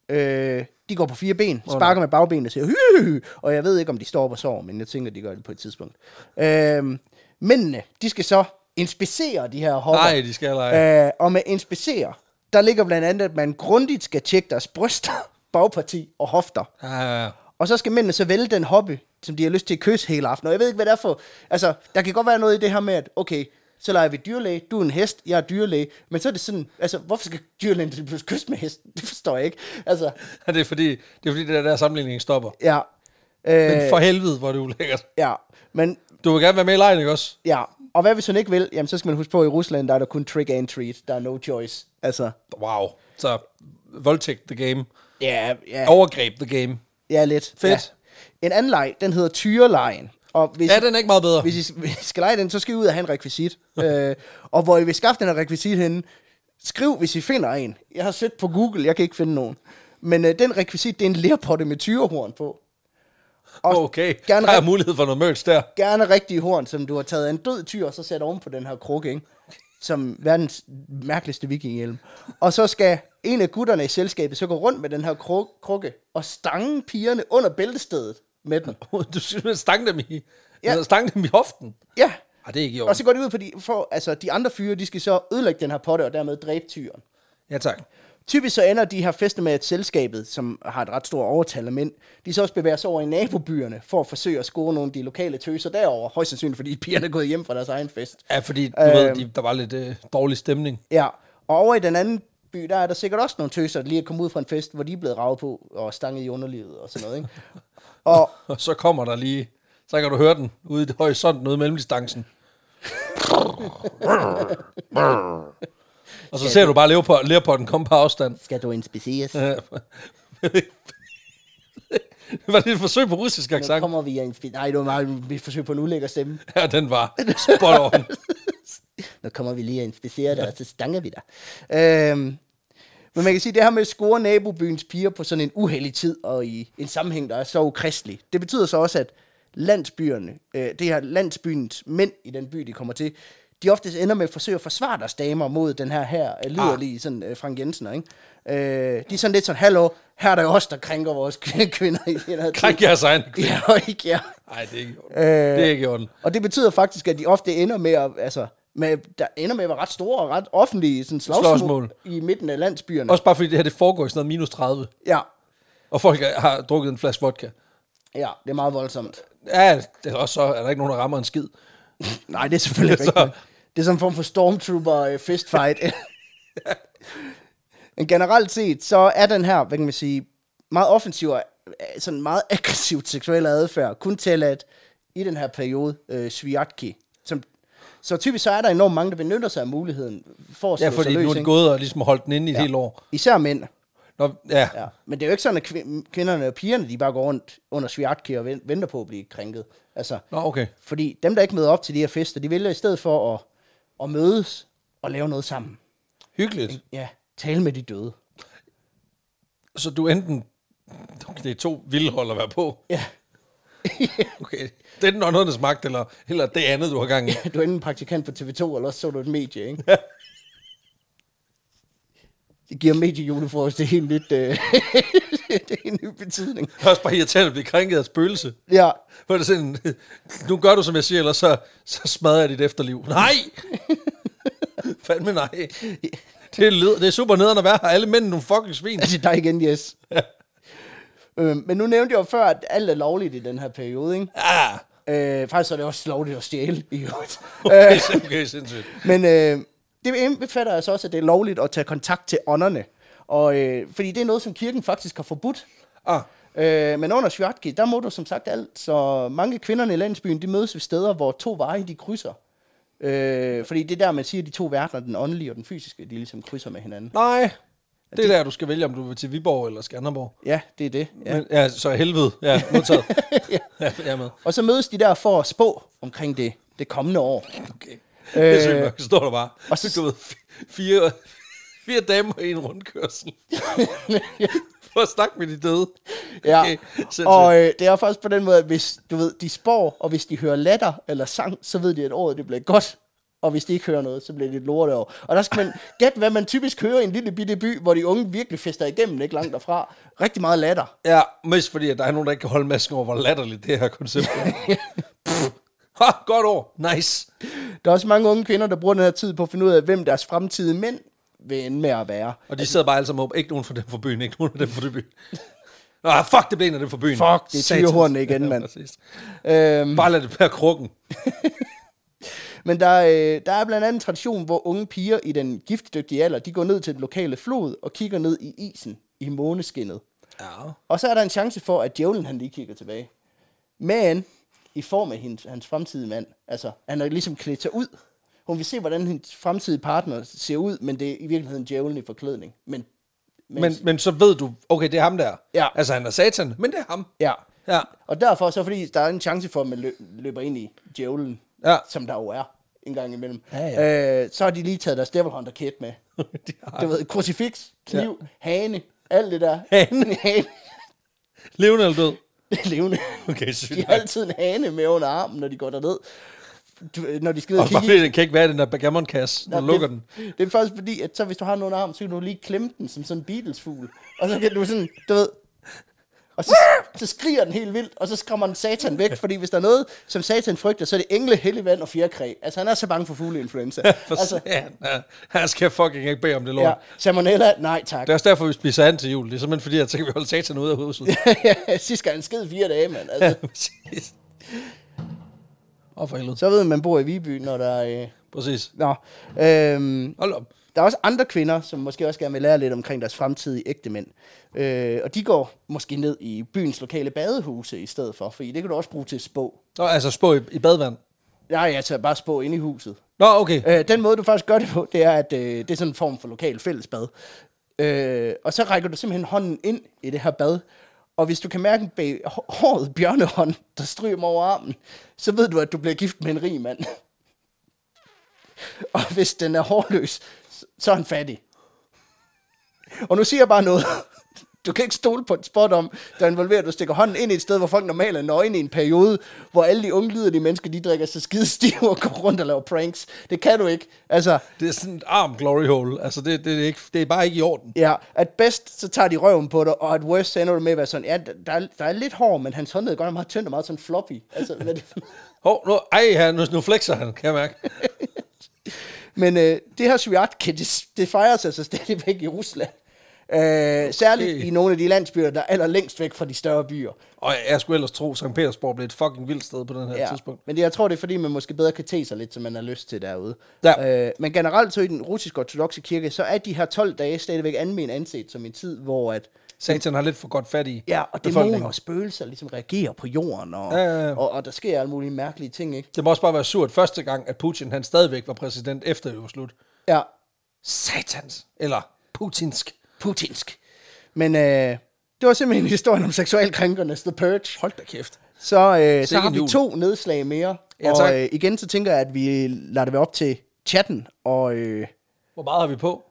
Øh, de går på fire ben, sparker med bagbenene og siger hy, og jeg ved ikke, om de står op og sover, men jeg tænker, de gør det på et tidspunkt. Øh, mændene, de skal så inspicere de her hopper. Nej, de skal lege. Øh, og med inspicere, der ligger blandt andet, at man grundigt skal tjekke deres bryster, bagparti og hofter. Ja, ja, ja. Og så skal mændene så vælge den hobby, som de har lyst til at kysse hele aftenen. Og jeg ved ikke, hvad det er for... Altså, der kan godt være noget i det her med, at okay, så leger vi dyrlæge, du er en hest, jeg er dyrlæge. Men så er det sådan, altså, hvorfor skal dyrlægen til pludselig kysse med hesten? Det forstår jeg ikke. Altså, Ja, Det er fordi, det er fordi det der, der sammenligning stopper. ja. Men Øh, for helvede, hvor er det ulækkert. ja. Men, Du vil gerne være med i lejen, ikke også? ja. Og hvad hvis hun ikke vil? Jamen, så skal man huske på, at i Rusland, der er der kun trick and treat. Der er no choice. Altså, Wow. Så voldtægt the game. ja, ja. Overgreb the game. Ja, lidt. Fedt. Ja. En anden leg, den hedder tyrelejen. Og hvis, Ja, den er ikke meget bedre. hvis I, hvis I skal lege den, så skal I ud og have en rekvisit. øh, og hvor I vil skaffe den her rekvisit henne, skriv, hvis I finder en. Jeg har søgt på Google, jeg kan ikke finde nogen. Men øh, den rekvisit, det er en lerpotte med tyrehorn på. Og Okay, gerne der er ret- mulighed for noget merch der. gerne rigtige horn, som du har taget af en død tyr, og så sat oven på den her krukke, ikke? Som verdens mærkeligste vikinghjelm. Og så skal en af gutterne i selskabet så gå rundt med den her kruk- krukke, og stange pigerne under bæltestedet med den. Du skal stange dem i, Ja. ja. stange dem i hoften. Ja, Ej, det er ikke i og orden. så går det ud på de, for, altså, de andre fyre, de skal så ødelægge den her potte, og dermed dræbe tyren. Ja, tak. Typisk så ender de her fester med, at selskabet, som har et ret stort overtal af mænd, de så også bevæger sig over i nabobyerne, for at forsøge at score nogle af de lokale tøser derover højst sandsynligt, fordi pigerne er gået hjem fra deres egen fest. Ja, fordi du øh, ved, de, der var lidt øh, dårlig stemning. Ja, og over i den anden by, der er der sikkert også nogle tøser, der lige er kommet ud fra en fest, hvor de er blevet ravet på og stanget i underlivet og sådan noget, ikke? Og Og så kommer der lige, så kan du høre den ude i det horisonten, ude i mellemdistancen. og så ser du bare leopard, leoparden komme på afstand. skal du inspiceres? det var det et forsøg på russisk Nu accent. kommer vi at inspicere. Nej, det var meget, vi forsøger på en ulækker stemme. Ja, den var spot on. Nu kommer vi lige at inspicere dig, og så stanger vi dig. Øhm, men man kan sige, det her med at score nabobyens piger på sådan en uheldig tid, og i en sammenhæng, der er så ukristelig, det betyder så også, at landsbyerne, øh, det her landsbyens mænd i den by, de kommer til, de oftest ender med at forsøge at forsvare deres damer mod den her her øh, liderlige sådan, øh, Frank Jensen, ikke? Øh, de er sådan lidt sådan, hallo, her er der jo os, der krænker vores kvinder i den her tid." Krænk jeres egen. Ja, og ikke jer. Nej, det er ikke i orden. Øh. Det er ikke i orden. Og det betyder faktisk, at de ofte ender med at, altså, med, der ender med at være ret store og ret offentlige sådan slagsmål, slagsmål. Slagsmål. i midten af landsbyerne. Også bare fordi det her, det foregår i sådan noget minus 30. Ja, Og folk er- har drukket en flaske vodka. ja, det er meget voldsomt. Ja, det er også så er der ikke nogen, der rammer en skid. Nej, det er selvfølgelig ikke Så- rigtigt. Det er sådan en form for stormtrooper øh, fistfight. Men generelt set, så er den her, hvad kan man sige, meget offensiv og øh, sådan meget aggressivt seksuel adfærd, kun tilladt i den her periode, øh, Sviatki. Som, så typisk så er der enormt mange, der benytter sig af muligheden for at slå Ja, sig fordi løs, nu er de ikke? gået og ligesom holdt den inde i et helt år. Især mænd. Nå, ja. Ja. Men det er jo ikke sådan, at kvi- kvinderne og pigerne, de bare går rundt under sviatki og ven- venter på at blive krænket. Altså, Nå, okay. fordi dem, der ikke møder op til de her fester, de vælger i stedet for at, at mødes og lave noget sammen. Hyggeligt. Ja, tale med de døde. Så du enten... Okay, det er to vilde hold at være på. Ja, Okay. Det er den åndernes magt, eller, eller det andet, du har gang i. du er enten praktikant på TV2, eller også så du et medie, ikke? Det giver mediejulefrokost, det er helt nyt, øh, det er en ny betydning. Det er også bare irriterende at blive krænket af et spøgelse. Ja, Hvor det er sådan, nu gør du, som jeg siger, eller så, så smadrer jeg dit efterliv. Nej! Fandme nej. Det er, led, det er super nederen at være her. Alle mænd er nogle fucking svin. Altså dig igen, yes. øh, men nu nævnte jeg jo før, at alt er lovligt i den her periode, ikke? Ah, Øh, faktisk så er det også lovligt at stjæle i øvrigt. okay, øh, sin- okay, sindssygt. men øh, det indbefatter altså også, at det er lovligt at tage kontakt til ånderne. Og, øh, fordi det er noget, som kirken faktisk har forbudt. Ah, Øh, men under Sjøtki, der må du som sagt alt, så mange kvinderne i landsbyen, de mødes ved steder, hvor to veje, de krydser. Øh, fordi det er der, man siger, at de to verdener, den åndelige og den fysiske, de ligesom krydser med hinanden. nej. Det er der, du skal vælge, om du vil til Viborg eller Skanderborg. Ja, det er det. Ja, Men, ja så helvede. Ja, modtaget. ja, jeg er med. Og så mødes de der for at spå omkring det, det kommende år. Okay. Det er sygt nok, så står der bare. Øh, og Og så- så du ved, f- fire, fire damer i en rundkørsel. For at snakke med de døde. Ja, Okay, okay, sindssygt. og øh, det er faktisk på den måde, at hvis du ved, de spår, og hvis de hører latter eller sang, så ved de, at året det bliver godt. Og hvis de ikke hører noget, så bliver det et lorteår. Og der skal man gætte, hvad man typisk hører i en lille bitte by, hvor de unge virkelig fester igennem, ikke langt derfra. Rigtig meget latter. Ja, mest fordi, at der er nogen, der ikke kan holde masken over, hvor latterligt det her koncept er. Pff. ha, godt år. Nice. Der er også mange unge kvinder, der bruger den her tid på at finde ud af, hvem deres fremtidige mænd vil ende med at være. Og de sidder bare alle sammen op. Ikke nogen fra dem fra byen, ikke nogen fra dem fra den byen. Nå, fuck, det blev en af dem fra byen. Fuck, det er Satans. tyrehorn igen, Ja, mand. præcis. Øhm, Bare lad det være krukken. men der, øh, der er blandt andet en tradition, hvor unge piger i den giftdygtige alder, de går ned til den lokale flod og kigger ned i isen i måneskinnet. Ja. Og så er der en chance for, at djævlen han lige kigger tilbage. Men i form af hendes, hans fremtidige mand. Altså, han er ligesom klædt sig ud. Hun vil se, hvordan hendes fremtidige partner ser ud, men det er i virkeligheden djævlen i forklædning. Men, men, Men, men så ved du, okay, det er ham der. Ja. Altså, han er satan, men det er ham. ja. Ja. Og derfor så, fordi der er en chance for, at man lø, løber ind i djævlen, Ja. som der jo er en gang imellem. Ja, Øh, så har de lige taget deres Devil Hunter kit med. de har Du ved, krucifix, kniv, ja. hane, alt det der. Hane? hane. levende eller død. Det er levende. Okay, De sygt. har altid en hane med under armen, når de går derned. Du, øh, når de skal ned Og og bare kigge i. fordi den kan ikke være i den der backgammon-kasse, når du lukker den. det, det er faktisk fordi, at så hvis du har den under armen, så kan du lige klemme den som sådan en Beatles-fugl. Og så kan du sådan, du ved... Og så, så skriger den helt vildt, og så skræmmer den satan væk, fordi hvis der er noget, som satan frygter, så er det engle, helligvand og fjerkræ. Altså, han er så bange for fugleinfluenza. For altså, satan, ja. Her skal jeg fucking ikke bede om det lort. ja, salmonella, nej tak. Det er også derfor, vi spiser an til jul. Det er simpelthen fordi, at så kan vi holde satan ude af huset. Sidst skal han skide fire dage, mand. ja, Altså, præcis. Åh, for helvede. så ved man, man bor i Viby, når der er... Øh... Præcis. Nå, øhm, Hold op. Der er også andre kvinder, som måske også gerne vil lære lidt omkring deres fremtidige ægtemænd. Øh, og de går måske ned i byens lokale badehuse i stedet for, fordi det kan du også bruge til at spå. Nå, altså spå i, i badevand. Nej, altså bare spå inde i huset. Nå, okay. Øh, den måde, du faktisk gør det på, det er, at øh, det er sådan en form for lokal fællesbad. Øh, og så rækker du simpelthen hånden ind i det her bad, og hvis du kan mærke en bag håret bjørnehånd, der stryger mig over armen, så ved du, at du bliver gift med en rig mand. og hvis den er hårløs, så- så er han fattig. Og nu siger jeg bare noget. Du kan ikke stole på et spot om, der involverer, at du stikker hånden ind i et sted, hvor folk normalt er nøgne i en periode, hvor alle de unge lider, de mennesker, de drikker sig skide stive og går rundt og laver pranks. Det kan du ikke. Altså, Det er sådan et arm glory hole. Altså, det, det, er ikke, det er bare ikke i orden. ja, at bedst, så tager de røven på dig, og at worst, så ender du med at være sådan, ja, der, er, der er lidt hård, men hans håndled er godt nok meget tynd og meget sådan floppy. Altså, hvad er det for- Hov, nu, ej, han, nu, nu flexer han, kan jeg mærke. men øh, det her Sviatkin, det, det fejres altså stadigvæk i Rusland. Øh, særligt Okay. i nogle af de landsbyer, der er allerlængst væk fra de større byer. Og jeg, jeg skulle ellers tro, at St. Petersborg blev et fucking vildt sted på den her ja. tidspunkt. Men det, jeg tror, det er fordi, man måske bedre kan te sig lidt, som man har lyst til derude. Ja. Øh, men generelt så i den russisk-ortodoxe kirke, så er de her 12 dage stadigvæk almen anset som en tid, hvor at Satan har lidt for godt fat i Ja, og befolkningen. dæmoner og spøgelser ligesom reagerer på jorden, og, Ja, ja, ja. og, og der sker alle mulige mærkelige ting, ikke? Det må også bare være surt første gang, at Putin han stadigvæk var præsident efter det var slut. Ja, Satans. Eller putinsk. putinsk. Men øh, det var simpelthen historien om seksualkrænkernes The Purge. Hold da kæft. Så, øh, så en har vi jul. to nedslag mere, Ja, tak. og øh, igen så tænker jeg, at vi lader det være op til chatten og øh, Hvor meget har vi på?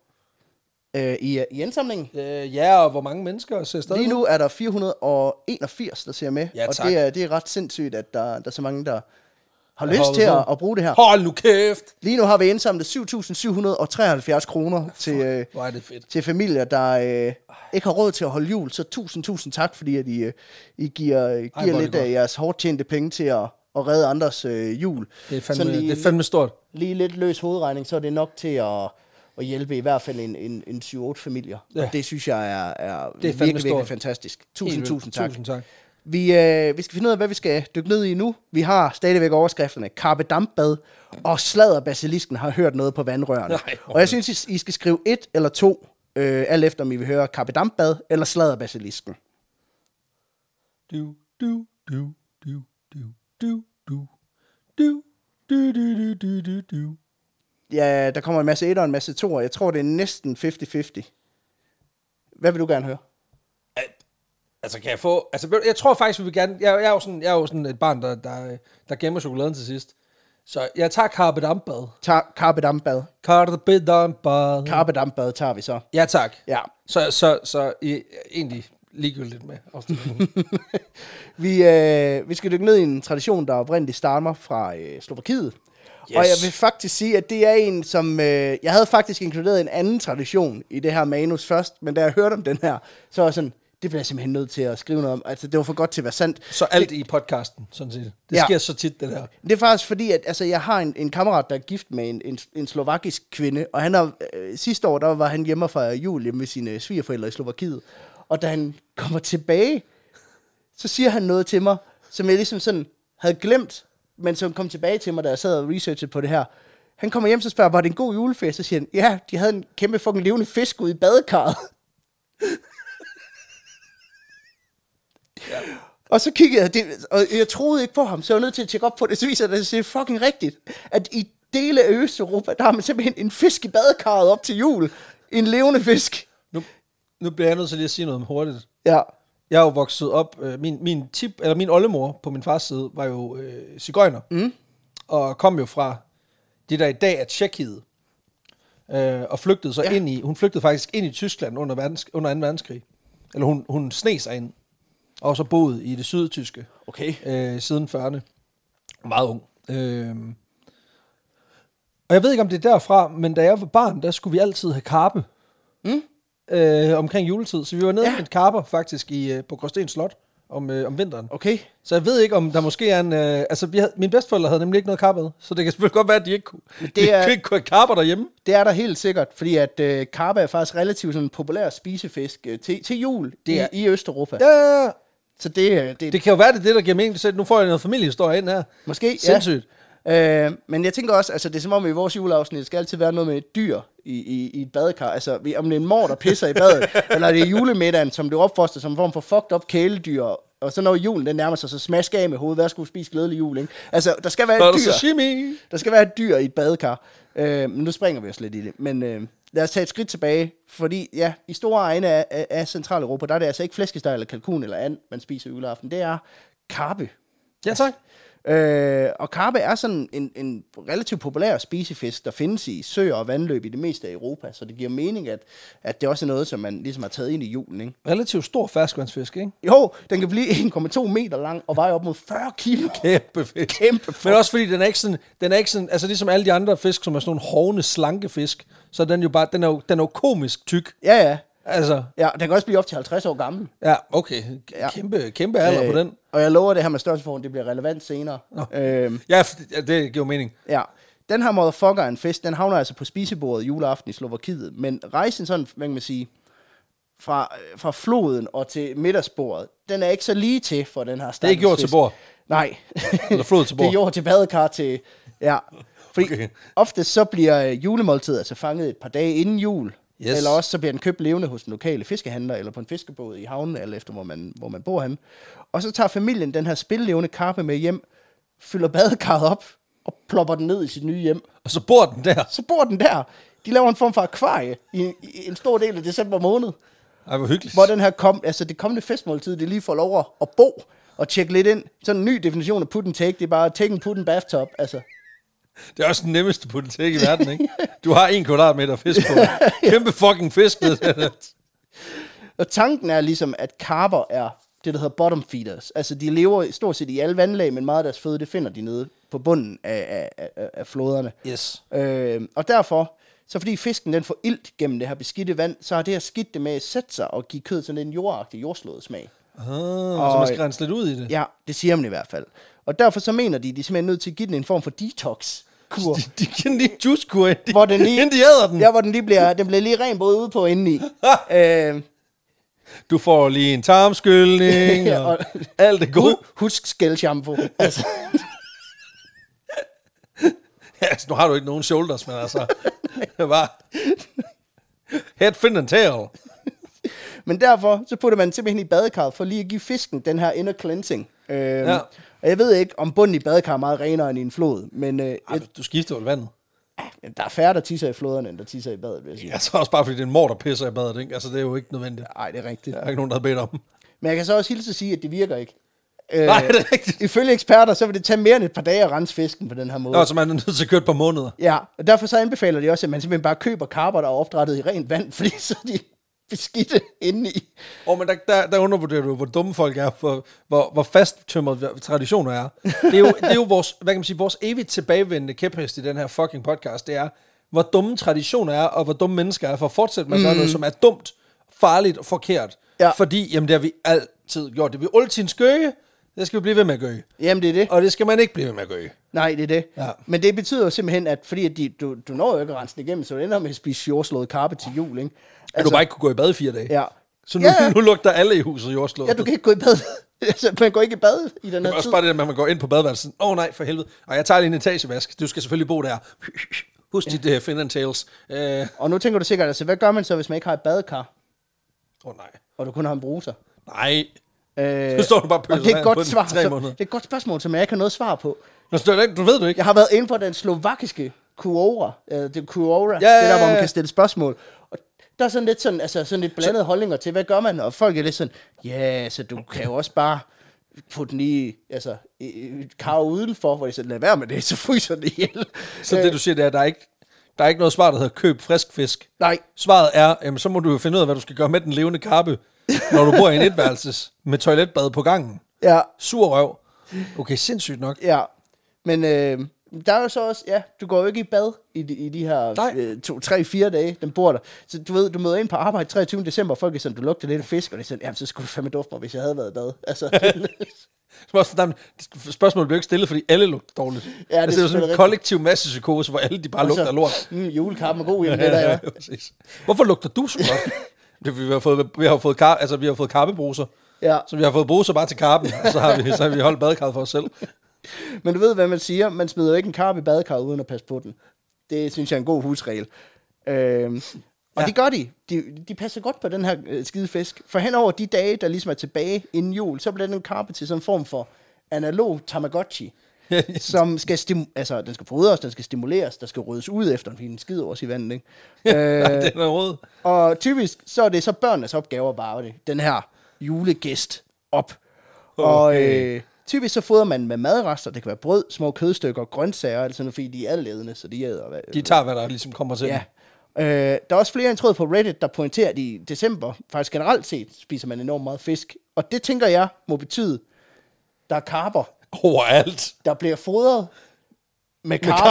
øh, i, i indsamlingen. Øh, ja, og hvor mange mennesker ser stadig? Lige nu er der 481, der ser med, Ja, og tak. det er, det er ret sindssygt, at der, der er så mange, der har Jeg lyst holder til at, med. at bruge det her. Hold nu kæft. Lige nu har vi indsamlet 7.773 kroner til, øh, Hvor er det fedt. til familier, der øh, ikke har råd til at holde jul. Så tusind, tusind tak, fordi at I, øh, I giver, øh, hvor giver er det lidt af godt. jeres hårdt tjente penge til at, at redde andres øh, jul. Det er fandme, Sådan lige, det er fandme stort. lige lidt løs hovedregning, så er det nok til at, at hjælpe i hvert fald en, en, en 7-8 familier. Ja. Ja. Og det synes jeg er, er, fandme virkelig, virkelig stort. fantastisk. Tusind, Helt vildt. tusind tak. Tusind tak. Vi, øh, vi skal finde ud af, hvad vi skal dykke ned i nu. Vi har stadigvæk overskrifterne. Carpe dampbad og sladder basilisken har hørt noget på vandrørene. Nej, hvor og jeg synes, I I skal skrive et eller to, øh, alt efter om I vil høre carpe dampbad eller sladder basilisken. Du, du, du, du, du, du, du, du, du, du, du, du, du, du. Ja, der kommer en masse etter og en masse toer. Jeg tror, det er næsten 50-50. Hvad vil du gerne høre? Altså, kan jeg få... Altså, ved du, jeg tror faktisk, vi vil gerne... Jeg, jeg, er jo sådan, jeg er jo sådan et barn, der, der, der gemmer chokoladen til sidst. Så jeg tager Carpe Dampbad. Tar, carpe dampbad. Carpe Dampbad. Carpe dampbad tager vi så. ja, tak. Ja. Så, så, så I, egentlig ligegyldigt med afstemningen. Vi, øh, vi skal dykke ned i en tradition, der oprindeligt stammer fra øh, Slovakiet. Yes. Og jeg vil faktisk sige, at det er en, som... Øh, jeg havde faktisk inkluderet en anden tradition i det her manus først, men da jeg hørte om den her, så var jeg sådan, det bliver jeg simpelthen nødt til at skrive noget om. Altså, det var for godt til at være sandt. så alt i podcasten, sådan set. Det Ja. ja. sker så tit, det der. Det er faktisk fordi, at altså, jeg har en, en kammerat, der er gift med en, en, en slovakisk kvinde, og han har, øh, sidste år der var han hjemme fra jul hjemme med sine svigerforældre i Slovakiet, og da han kommer tilbage, så siger han noget til mig, som jeg ligesom sådan havde glemt, men som kom tilbage til mig, da jeg sad og researchede på det her. Han kommer hjem, så spørger, jeg, var det en god juleferie? Så siger han, ja, de havde en kæmpe fucking levende fisk ude i badekarret. Og så kiggede jeg, det, og jeg troede ikke på ham, så jeg var nødt til at tjekke op på det. Så viser det sig, at det er fucking rigtigt, at i dele af Østeuropa, der har man simpelthen en fisk i badekarret op til jul. En levende fisk. Nu, nu bliver jeg nødt til lige at sige noget om hurtigt. Ja. Jeg er jo vokset op, øh, min, min tip, eller min oldemor på min fars side, var jo øh, cigøjner, mm. og kom jo fra det, der i dag er Tjekkiet, øh, og flygtede så ja. ind i, hun flygtede faktisk ind i Tyskland under, verdens, under 2. verdenskrig, eller hun, hun sneg sig ind, og så boede i det sydtyske Okay. øh, siden 40'erne. Meget ung. Øh, og jeg ved ikke, om det er derfra, men da jeg var barn, der skulle vi altid have karpe. Mm. Øh, omkring juletid. Så vi var nede Ja. ja. med karper faktisk i, øh, på Gråsten Slot om, øh, om vinteren. Okay. Så jeg ved ikke, om der måske er en... Øh, altså, vi havde, mine bedsteforældre havde nemlig ikke noget karpe, med, så det kan selvfølgelig godt være, at de ikke kunne, Men det de er- ikke kunne have karper derhjemme. Det er der helt sikkert, fordi at øh, karpe er faktisk relativt sådan en populær spisefisk øh, til, til jul det Det er... er- i, i Østeuropa. Ja. Ja, ja, ja. Så det, øh, det, det Det kan jo være, det er det, der giver mening. Så nu får jeg noget familiehistorie ind her. måske... Sindssygt. Ja. Øh, men jeg tænker også, altså det er som om i vores juleafsnit skal altid være noget med et dyr i, i, i et badekar. Altså vi- om det er en mor, der pisser i badet, eller det er julemiddagen, som blev opfostret som en form for fucked up kæledyr. Og så når julen den nærmer sig, så smask af med hovedet. Hvad skulle spise glædelig jul, ikke? Altså der skal være Var et der dyr. sashimi? Der skal være et dyr i et badekar. Øh, men nu springer vi os lidt i det. Men øh, lad os tage et skridt tilbage, fordi ja, i store egne af, af, af Centraleuropa, der er det altså ikke flæskesteg eller kalkun eller and, man spiser juleaften. Det er karpe. Ja, tak. Øh, og karpe er sådan en, en relativt populær spisefisk, der findes i søer og vandløb i det meste af Europa, så det giver mening, at, at det også er noget, som man ligesom har taget ind i julen, ikke? Relativt stor ferskvandsfisk, ikke? Jo, den kan blive 1,2 meter lang og veje op mod 40 kilo. Kæmpe fisk. Kæmpe Men også fordi den er ikke sådan, den er ikke sådan, altså ligesom alle de andre fisk, som er sådan nogle hovne, slanke fisk, så er den jo bare, den er jo, den er jo komisk tyk. Ja, ja. Altså, Ja, den kan også blive op til 50 år gammel. ja, okay. Ja. Kæmpe, kæmpe alder på den. Øh, Og jeg lover det her med størrelsesforhold, det bliver relevant senere. Øhm, Ja, f- ja, det giver jo mening. ja. Den her motherfucker er en fisk, den havner altså på spisebordet juleaften i Slovakiet. Men rejsen sådan, hvad kan man sige, fra, øh, fra floden og til middagsbordet, den er ikke så lige til for den her stakkels jord til fisk. bord. Nej. Eller flod til det er bord. jord til badekar til... Ja. Fordi okay. Okay. ofte så bliver øh, julemåltidet altså fanget et par dage inden jul. Yes. Yes. Eller også så bliver den købt levende hos den lokale fiskehandler eller på en fiskebåd i havnen, alt efter hvor man, hvor man bor han. Og så tager familien den her spillevende karpe med hjem, fylder badekarret op og plopper den ned i sit nye hjem. Og så bor den der. Så bor den der. De laver en form for akvarie i, i en stor del af december måned Ej, hvor hyggeligt. hvor den her kom, altså det kommende festmåltid, det lige får lov at- at bo og tjekke lidt ind. Sådan en ny definition af put and take, det er bare take and put in bathtub. Altså, Det er også den nemmeste politik i verden, ikke? Du har en kvadratmeter fisk på. Kæmpe fucking fisk. ned der. og tanken er ligesom, at karper er det, der hedder bottom feeders. Altså, de lever stort set i alle vandlag, men meget af deres føde, det finder de nede på bunden af, af- af, af, af floderne. yes. Øh, og derfor, så fordi fisken den får ilt gennem det her beskidte vand, så har det her skidt det med at sætte sig og give kød sådan en jordagtig jordslået smag. Ah, Og- så man skal rense lidt ud i det. Ja, det siger man i hvert fald. Og derfor så mener de, at de er simpelthen nødt til at give den en form for detox-kur. De, de kan lige juicekur, inden de, Hvor den lige- inden de æder den. Ja, hvor den lige bliver, den bliver lige ren både ude på og indeni. øh, Du får lige en tarmskyldning, Ja, og, og- alt det gode. hu- husk skældshampoo. Altså, Ja, altså, nu har du ikke nogen shoulders, men altså, det er bare... Head, fin and tail. men derfor, så putter man den simpelthen i badekarret for lige at give fisken den her inner cleansing. Øh, ja. Og jeg ved ikke, om bunden i badekar er meget renere end i en flod, men øh, Ej, du skifter vel vandet. et, der er færre, der tisser i floderne, end der tisser i badet, vil jeg sige. Altså også bare, fordi det er en mor, der pisser i badet, ikke? Altså, det er jo ikke nødvendigt. Nej, det er rigtigt. Der er ikke nogen, der har bedt om. Men jeg kan så også hilse at sige, at det virker ikke. Øh, Nej, det er rigtigt. Ifølge eksperter, så vil det tage mere end et par dage at rense fisken på den her måde. Nå, så man er nødt til at køre et par måneder. Ja, og derfor så anbefaler de også, at man simpelthen bare køber karper, der er opdrettet i rent vand, fordi så er de beskidte indeni. Åh, oh, men der, der, der undervurderer du, hvor dumme folk er, for, hvor, hvor fasttømret traditioner er. Det er, jo, det er jo vores, hvad kan man sige, vores evigt tilbagevendende kæphest i den her fucking podcast, det er, hvor dumme traditioner er, og hvor dumme mennesker er, for at fortsætte med at gøre noget, som er dumt, farligt og forkert. Mm. Ja. Fordi, jamen det har vi altid gjort. Det er vi altid skøge, det skal vi blive ved med at gøre. Jamen, det er det. Og det skal man ikke blive ved med at gøre. Nej, det er det. Ja. Men det betyder jo simpelthen, at fordi at de, du, du når jo ikke at rense den igennem, så du ender med at spise jordslået karpe til jul, ikke? Altså, At du bare ikke kunne gå i bad i fire dage. Ja. Så nu, Ja, ja. nu lugter alle i huset jordslået. Ja, du kan ikke gå i bad. altså, man går ikke i bad i den Det her er tid. også bare det der med, at man går ind på badeværelset. Åh oh, nej, for helvede. Og jeg tager lige en etagevask. Du skal selvfølgelig bo der. Husk dit uh, fin and tails. Åh uh, Og nu tænker du sikkert, altså, hvad gør man så, hvis man ikke har et badekar, oh, nej. og du kun har en bruser? Nej. Øh, Nu står du bare og og pøser det er, et vand på godt den i svar, tre som, måneder. det er et godt spørgsmål, som jeg ikke har noget svar på. Nå, så er det ikke- du ved du ikke. Jeg har været inde på den slovakiske Quora, øh, det er Quora, ja, ja, det der, hvor ja, man ja. kan stille spørgsmål. Og der er sådan lidt, sådan, altså, sådan lidt blandede holdninger til, hvad gør man? Og folk er lidt sådan, ja, yeah, så du kan jo også bare putte den i, altså, i- i et kar udenfor, hvor de sådan, lad være med det, så fryser den ihjel. Øh, Så det du siger, det er, at der er ikke, der er ikke noget svar, der hedder køb frisk fisk. Nej, Svaret er, jamen, så må du jo finde ud af, hvad du skal gøre med den levende karpe, når du bor i en etværelses med toiletbad på gangen. ja, Sur røv. Okay, sindssygt nok. ja. Men øh, der er jo så også, ja, du går jo ikke i bad i de, i de her Nej. øh, to, tre, fire dage, den bor der. Så du ved, du møder ind på arbejde 23. december, og folk er sådan, du lugter lidt af fisk, og det er sådan, jamen, så skulle du fandme dufte mig, hvis jeg havde været i bad. Altså, Så var jeg sådan, "Jamen, Spørgsmålet blev ikke stillet, fordi alle lugter dårligt. Ja, det, altså, det er jo sådan selvfølgelig en kollektiv massepsykose, hvor alle de bare lugter af lort. Mm, julekappen er god, jamen det der er. præcis. Hvorfor lugter du så godt? Det er, fordi vi har fået, vi har jo fået, kar, altså, vi har fået karpebruser. Ja. Så vi har fået bruser bare til karpen, og så har vi, så har vi holdt badekarret for os selv. Men du ved, hvad man siger. Man smider jo ikke en karp i badekarret, uden at passe på den. Det synes jeg er en god husregel. Øhm, og ja. Ja. det gør de. de. De passer godt på den her øh, skide fisk. For hen over de dage, der ligesom er tilbage inden jul, så bliver den karpe til sådan en form for analog Tamagotchi. Ja. som skal stimu- altså, den skal fodres, den skal stimuleres, der skal ryddes ud efter, fordi den skider også i vandet, ikke? Øh. det er noget råd. Og typisk, så er det så børnenes opgave at bare det, den her julegæst op. Okay. Og Okay. øh, typisk så fodrer man med madrester, det kan være brød, små kødstykker, grøntsager, eller sådan noget, fordi de er alledende, så de æder. Hvad, De tager, hvad der ligesom kommer til. ja. Øh, der er også flere end tråd på Reddit, der pointerer, at i december, faktisk generelt set, spiser man enormt meget fisk. Og det tænker jeg må betyde, der er karper, Overalt. der bliver fodret med Med karper.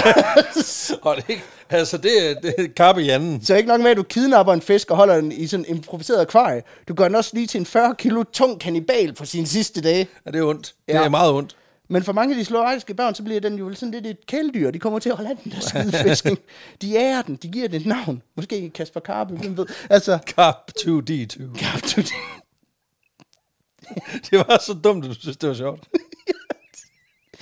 karper. og det, er ikke- altså, det er, det er karpe i anden. Så ikke nok med, at du kidnapper en fisk og holder den i sådan en improviseret akvarie. Du gør den også lige til en 40 kilo tung kannibal på sine sidste dage. Ja, det er ondt. Ja. Det Ja. er meget ondt. Men for mange af de slovakiske børn, så bliver den jo sådan lidt et kæledyr. De kommer til at holde af den der skide fisk. ikke? De ærer den, de giver den et navn. Måske Kasper Karpe, hvem ved. Altså, Karp 2D2. Karp, du, Det var så dumt, at du synes, det var sjovt.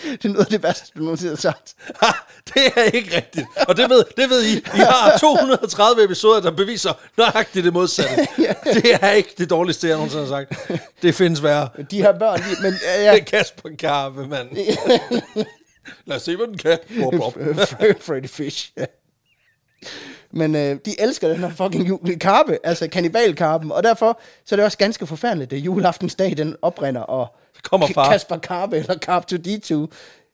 det er noget af det værste, du nogensinde har sagt. Ha, det er ikke rigtigt. Og det ved, det ved I. I har 230 episoder, der beviser nøjagtigt det modsatte. Det er ikke det dårligste, jeg nogensinde har sagt. Det findes værre. De her børn, de, men ja, Det ja. er Kasper Karpe, mand. Lad os se, hvad den kan. Bop, bop. Freddy Fish. Ja. Men øh, de elsker den her fucking jul- karpe, altså kannibalkarpen, og derfor så er det også ganske forfærdeligt, at juleaftensdag den oprinder, og Så kommer K- far. Kasper Karpe eller Karp to D2,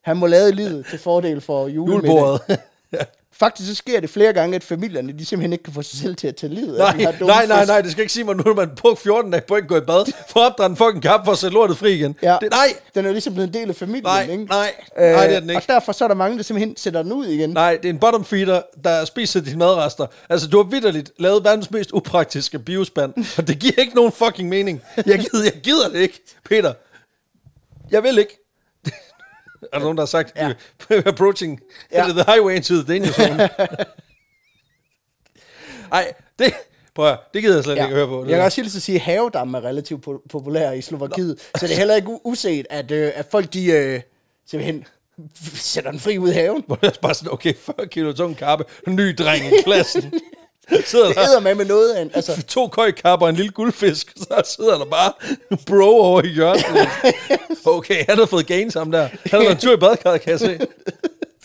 han må lade livet til fordel for julemiddag. Julebordet. Ja. Faktisk så sker det flere gange, at familierne de simpelthen ikke kan få sig selv til at tage livet af Nej, den her dumme nej, nej, fisk. nej, det skal ikke sige mig nu, at man på 14 dage på ikke gå i bad, for at opdrage en fucking kap for at sætte lortet fri igen. Ja. Det, nej, Den er jo ligesom blevet en del af familien, Nej, ikke? nej, nej, det er den ikke. Øh, Og derfor så er der mange, der simpelthen sætter den ud igen. Nej, det er en bottom feeder, der spiser dine madrester. Altså, du har vidderligt lavet verdens mest upraktiske biospand, og det giver ikke nogen fucking mening. Jeg gider, jeg gider det ikke, Peter. Jeg vil ikke. er der nogen, der har sagt, Ja. ja. approaching Ja. ja. the highway into the danger zone? Ej, det, prøv at, høre, det gider jeg slet ja. Ja. ikke at høre på. Det jeg kan der. også hilse at sige, at havedam er relativt po- populær i Slovakiet, så det er heller ikke u- uset, at, øh, at folk de øh, simpelthen sætter den fri ud i haven. Hvor det er bare sådan, okay, 40 kilo tung kappe, ny dreng i klassen. Sidder Det der, æder med med noget af en, altså, to køjkapper og en lille guldfisk, så sidder der bare en bro over i hjørnet. Okay, han har fået gains ham der. Han har været en tur i badekarret, kan jeg se.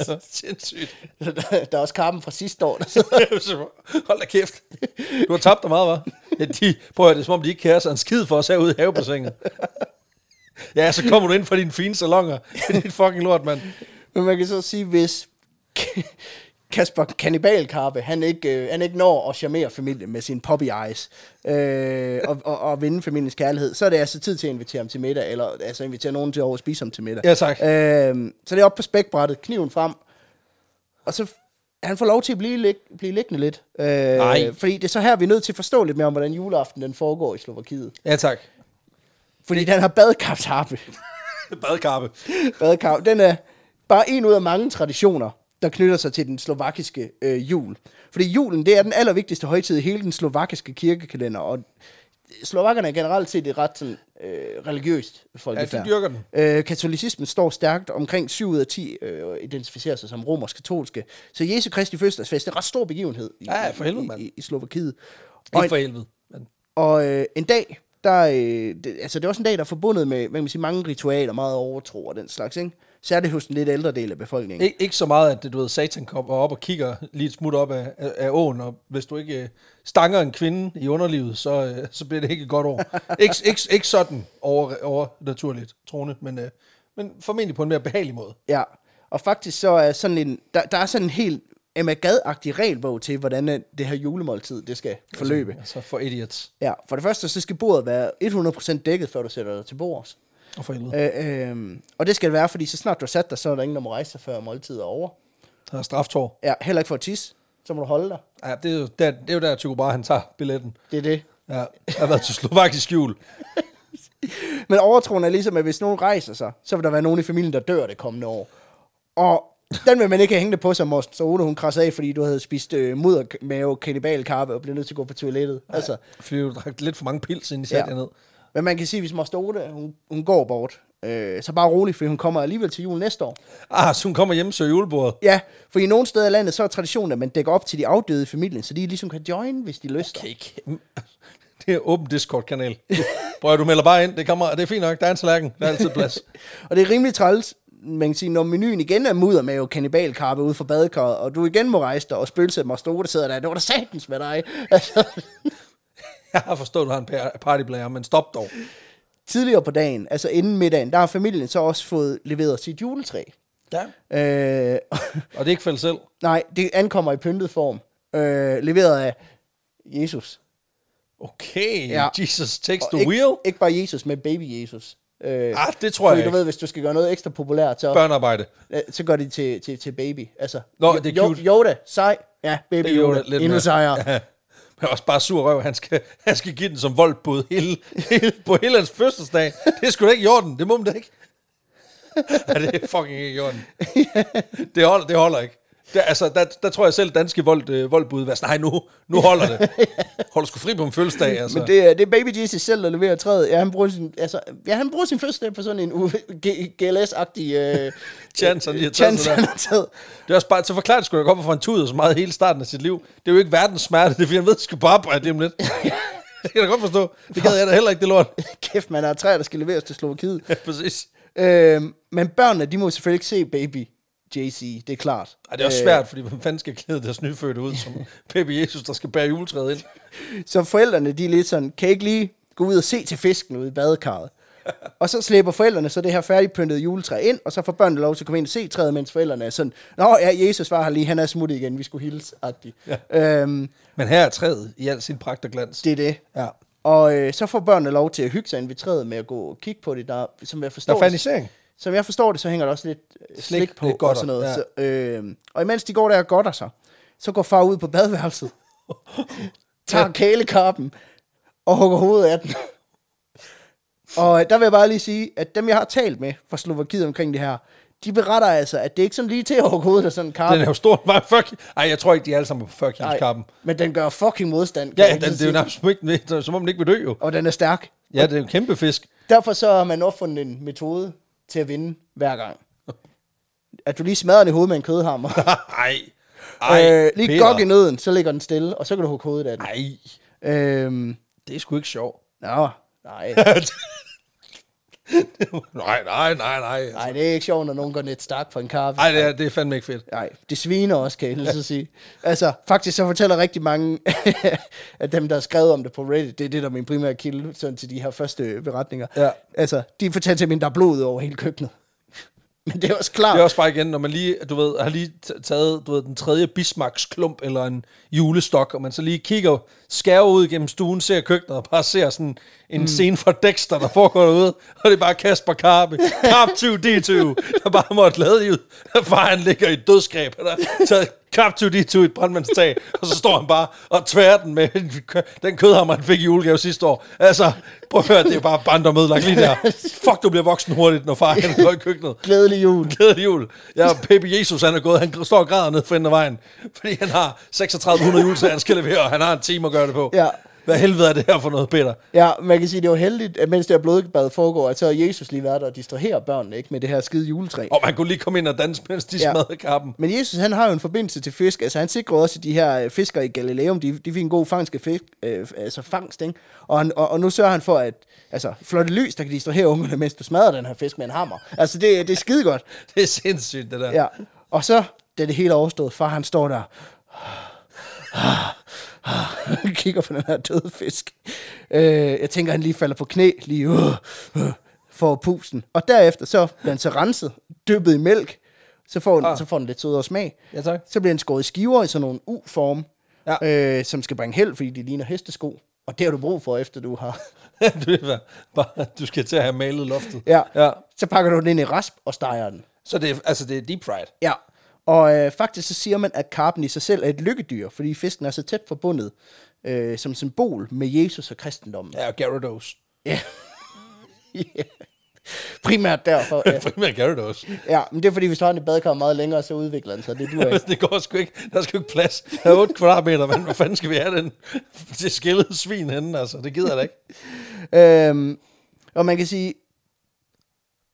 Ja, Sindssygt. der er også karpen fra sidste år, der sidder Hold da kæft. Du har tabt dig meget, hva'? Ja, de, prøv at høre, det er som om, de ikke kærer sig en skid for os herude i havebassinet. Ja, så kommer du ind fra dine fine salonger. Det er dit fucking lort, mand. Men man kan så sige, hvis Kasper Kannibalkarpe, han ikke, øh, han ikke når at charmere familien med sine poppy eyes øh, og, og, og vinde familiens kærlighed, så er det altså tid til at invitere ham til middag, eller altså invitere nogen til over at spise ham til middag. Ja, tak. Øh, så det er op på spækbrættet, kniven frem, og så f- han får lov til at blive, lig, blive liggende lidt. Øh, Nej. Fordi det er så her, vi er nødt til at forstå lidt mere om, hvordan juleaften den foregår i Slovakiet. Ja, tak. Fordi den har badekampsharpe. Badkarpe. badekamp, den er bare en ud af mange traditioner, der knytter sig til den slovakiske øh, jul. Fordi julen, det er den allervigtigste højtid i hele den slovakiske kirkekalender, og slovakkerne er generelt set et ret sådan, øh, religiøst folkefærd. Ja, de dyrker den. Øh, katolicismen står stærkt. Omkring 7 ud af 10 øh, identificerer sig som romersk-katolske. Så Jesu Kristi fødselsdagsfest er en ret stor begivenhed i, Ja, for helvede, mand. i, i, i Slovakiet. Og Ikke for helvede. Men. og øh, en dag, der, øh, det, altså det er også en dag, der er forbundet med hvad kan man sige, mange ritualer, meget overtro og den slags, ikke? Særligt hos den lidt ældre del af befolkningen. Ik- ikke så meget, at det, du ved, satan kommer op og kigger lige et smut op af, af, af åen, og hvis du ikke øh, stanger en kvinde i underlivet, så, øh, så bliver det ikke et godt år. ikke, ikke, ikke sådan over, over naturligt, troende, men, øh, men formentlig på en mere behagelig måde. Ja, og faktisk så er sådan en, der, der er sådan en helt Emma Gad-agtig regelbog til, hvordan øh, det her julemåltid, det skal forløbe. Altså for idiots Ja, for det første, så skal bordet være 100% dækket, før du sætter dig til bordet. og for helvede. Øh, øh, og det skal det være, fordi så snart du har sat dig, så er der ingen, der må rejse sig, før måltidet er over. Der er straftår. Ja, heller ikke for at tisse, så må du holde dig. Ja, det, er jo der, det er jo der, Tycho Brahe, han tager billetten. Det er det. Ja, jeg har været til Slovakisk jul. Men overtroen er ligesom, at hvis nogen rejser sig, så vil der være nogen i familien, der dør det kommende år. Og den vil man ikke have hængende på sig, Morten. Så Ole, hun krasser af, fordi du havde spist øh, muddermave, kannibalkarpe og blev nødt til at gå på toilettet. Altså, Fordi du drak lidt for mange pils, inden I satte Ja. ja. ned. men man kan sige, hvis Morten Ole, hun, hun går bort, øh, så bare rolig, for hun kommer alligevel til jul næste år. Ah, så hun kommer hjem til julebordet. Ja, for i nogle steder i landet, så er traditionen, at man dækker op til de afdøde i familien, så de ligesom kan join, hvis de lyster. Okay, kæm- Det er åben Discord-kanal. Prøv at du melder bare ind. Det, kommer, det er fint nok. Der er en tallerken. Der er altid plads. Og det er rimelig træls, man kan sige, når menuen igen er mudder med jo kannibalkarpe ude for badekarret, og du igen må rejse dig, og spøgelset Mastote sidder der, det var da satans med dig. Altså, Jeg har forstået, at du har en par- partyblager, men stop dog. tidligere på dagen, altså inden middagen, der har familien så også fået leveret sit juletræ. Ja. Øh, Og det er ikke for dig selv. nej, det ankommer i pyntet form. Øh, leveret af Jesus. Okay, Ja. ja. Jesus takes Og the ikke, wheel. Ikke bare Jesus, men baby Jesus. Øh, Ah, det tror fordi jeg du ikke. ved, hvis du skal gøre noget ekstra populært, så, Børnearbejde. øh, så gør de til, til, til baby. Altså, Nå, det er Jo- cute. Yoda, sej. Ja, baby Det er Yoda. Yoda, Yoda lidt endnu mere. sejere. Ja. Men også bare sur røv. Han skal, han skal give den som voldbud hele, hele, på hele hans fødselsdag. Det er sgu da ikke i orden. Det må man da ikke. Ja, det er fucking ikke i orden. Det holder, det holder ikke. Det, altså, der, der, tror jeg selv, danske vold, øh, voldbud var sådan, nej, nu, nu holder det. Holder sgu fri på en fødselsdag, altså. Men det er, det er Baby Jesus selv, der leverer træet. Ja, han bruger sin, altså, ja, han bruger sin fødselsdag på sådan en U- G- GLS-agtig... Øh, Chance, han lige har taget chance, sig der. han har taget. Det er også bare, så forklaret skulle jeg godt, hvorfor han tuder så meget hele starten af sit liv. Det er jo ikke verdens smerte, det er fordi, han ved, at han skal på arbejde lige om lidt. Det kan jeg da godt forstå. Det gad jeg da heller ikke, det lort. Kæft, man der er træer, der skal leveres til Slovakiet. Ja, præcis. øh, men børnene, de må selvfølgelig ikke se Baby JC, det er klart. Ej, det er også svært, fordi hvem fanden skal klæde deres nyfødte ud som Pepe Jesus, der skal bære juletræet ind? Så forældrene, de er lidt sådan, kan I ikke lige gå ud og se til fisken ude i badekarret? og så slæber forældrene så det her færdigpyntede juletræ ind, og så får børnene lov til at komme ind og se træet, mens forældrene er sådan, Nå ja, Jesus var her lige, han er smuttet igen, vi skulle hilse, agtigt. Ja. Øhm, Men her er træet i al sin pragt og glans. det er det. Ja. Og øh, så får børnene lov til at hygge sig ind ved træet med at gå og kigge på det. Der, som, jeg Der forstår er det, fanisering. som jeg forstår det, så hænger der også lidt øh, slik, slik Slik, på lidt og godter, sådan noget. ja. Så, øh, og imens de går der og godter sig, så går far ud på badeværelset, tager kælekarpen og hugger hovedet af den. og øh, der vil jeg bare lige sige, at dem, jeg har talt med fra Slovakiet omkring det her, de beretter altså, at det ikke sådan lige til at hugge hovedet af sådan en karp. Den er jo stor. Bare 40 Ej, jeg tror ikke, de er alle sammen på 40 kilos kappen. men den gør fucking modstand. kan Ja, jeg den, lige det er jo sige. nærmest ikke, det er som om den ikke vil dø jo. og den er stærk. Ja, det er jo en kæmpe fisk. Derfor så har man opfundet en metode til at vinde hver gang. At du lige smadrer den i hovedet med en kødhammer. Ej. Ej, øh, lige Peter. gok i nøden, så ligger den stille, og så kan du hugge hovedet af den. Ej, Øhm, det er sgu ikke sjovt. nå, nej. Nej, nej, nej, nej. Nej, det er ikke sjovt, når nogen går net stark for en kaffe. Nej, det er, det er fandme ikke fedt. Nej, det sviner også, kan jeg ellers så sige. Altså, faktisk så fortæller rigtig mange af dem, der har skrevet om det på Reddit, det er det, der er min primære kilde sådan til de her første beretninger. Ja. Altså, de fortæller til mig, der er blod over hele køkkenet. Men det er også klart. Det er også bare igen, når man lige, du ved, har lige t- taget, du ved, den tredje Bismarcks-klump eller en julestok, og man så lige kigger, skærer ud gennem stuen, ser køkkenet og bare ser sådan en mm. scene fra Dexter, der foregår derude, og det er bare Kasper Karpe, Karp 2D2, der bare måtte lade ud, at faren ligger i et dødsgreb, og der er taget Karp 2D2 i et brandmandstag, og så står han bare og tværer den med en kø- den kødhammer, han fik i julegave sidste år. Altså, prøv at høre, det er bare barndom ødelagt lige der. Fuck, du bliver voksen hurtigt, når far han går i køkkenet Glædelig jul. glædelig jul. Ja, Pepe Jesus, han er gået, han står og græder ned for enden af vejen, fordi han har 3600 juletræer, han skal levere, og han har en time at gøre det på. Ja. Hvad helvede er det her for noget, Peter? Ja, man kan sige, det er jo heldigt, at mens det her blodbad foregår, at så er Jesus lige været der og distraherer børnene ikke, med det her skide juletræ. Og man kunne lige komme ind og danse, mens de ja. Ja. smadrede kappen. Men Jesus, han har jo en forbindelse til fisk. Altså, han sikrede også, at de her øh, fiskere i Galileum, de, de fik en god fangst, af fisk, øh, altså fangst, ikke? Og, han, og, og, nu sørger han for, at altså, flotte lys, der kan distrahere ungerne, mens du smadrer den her fisk med en hammer. Altså, det, det er skide godt. Det er sindssygt, det der. Ja. Og så, da det hele er overstået, far han står der, kigger på den her døde fisk. Øh, jeg tænker, han lige falder på knæ, lige uh, uh, for pusten. Og derefter så bliver han så renset, dyppet i mælk, så får, den, Ah. så får den lidt sødere smag. Ja, tak. Så bliver den skåret i skiver i sådan nogle U-form, Ja. ja. øh, som skal bringe held, fordi de ligner hestesko. Og det har du brug for, efter du har... du, ved hvad, bare, du skal til at have malet loftet. Ja. ja. Så pakker du den ind i rasp og steger den. Så det er, altså, det er deep fried. Ja. Og øh, faktisk så siger man, at karpen i sig selv er et lykkedyr, fordi fisken er så tæt forbundet øh, som symbol med Jesus og kristendommen. Ja, og Gyarados. Ja. ja. Primært derfor. Ja. Primært Gyarados. ja, men det er fordi, hvis du har den i badekar meget længere, så udvikler den sig. Det duer ikke. det går sgu ikke. Der er sgu ikke plads. Der er 8 kvadratmeter, men hvor fanden skal vi have den? Det skillede svin henne, altså. Det gider jeg da ikke. øhm, og man kan sige,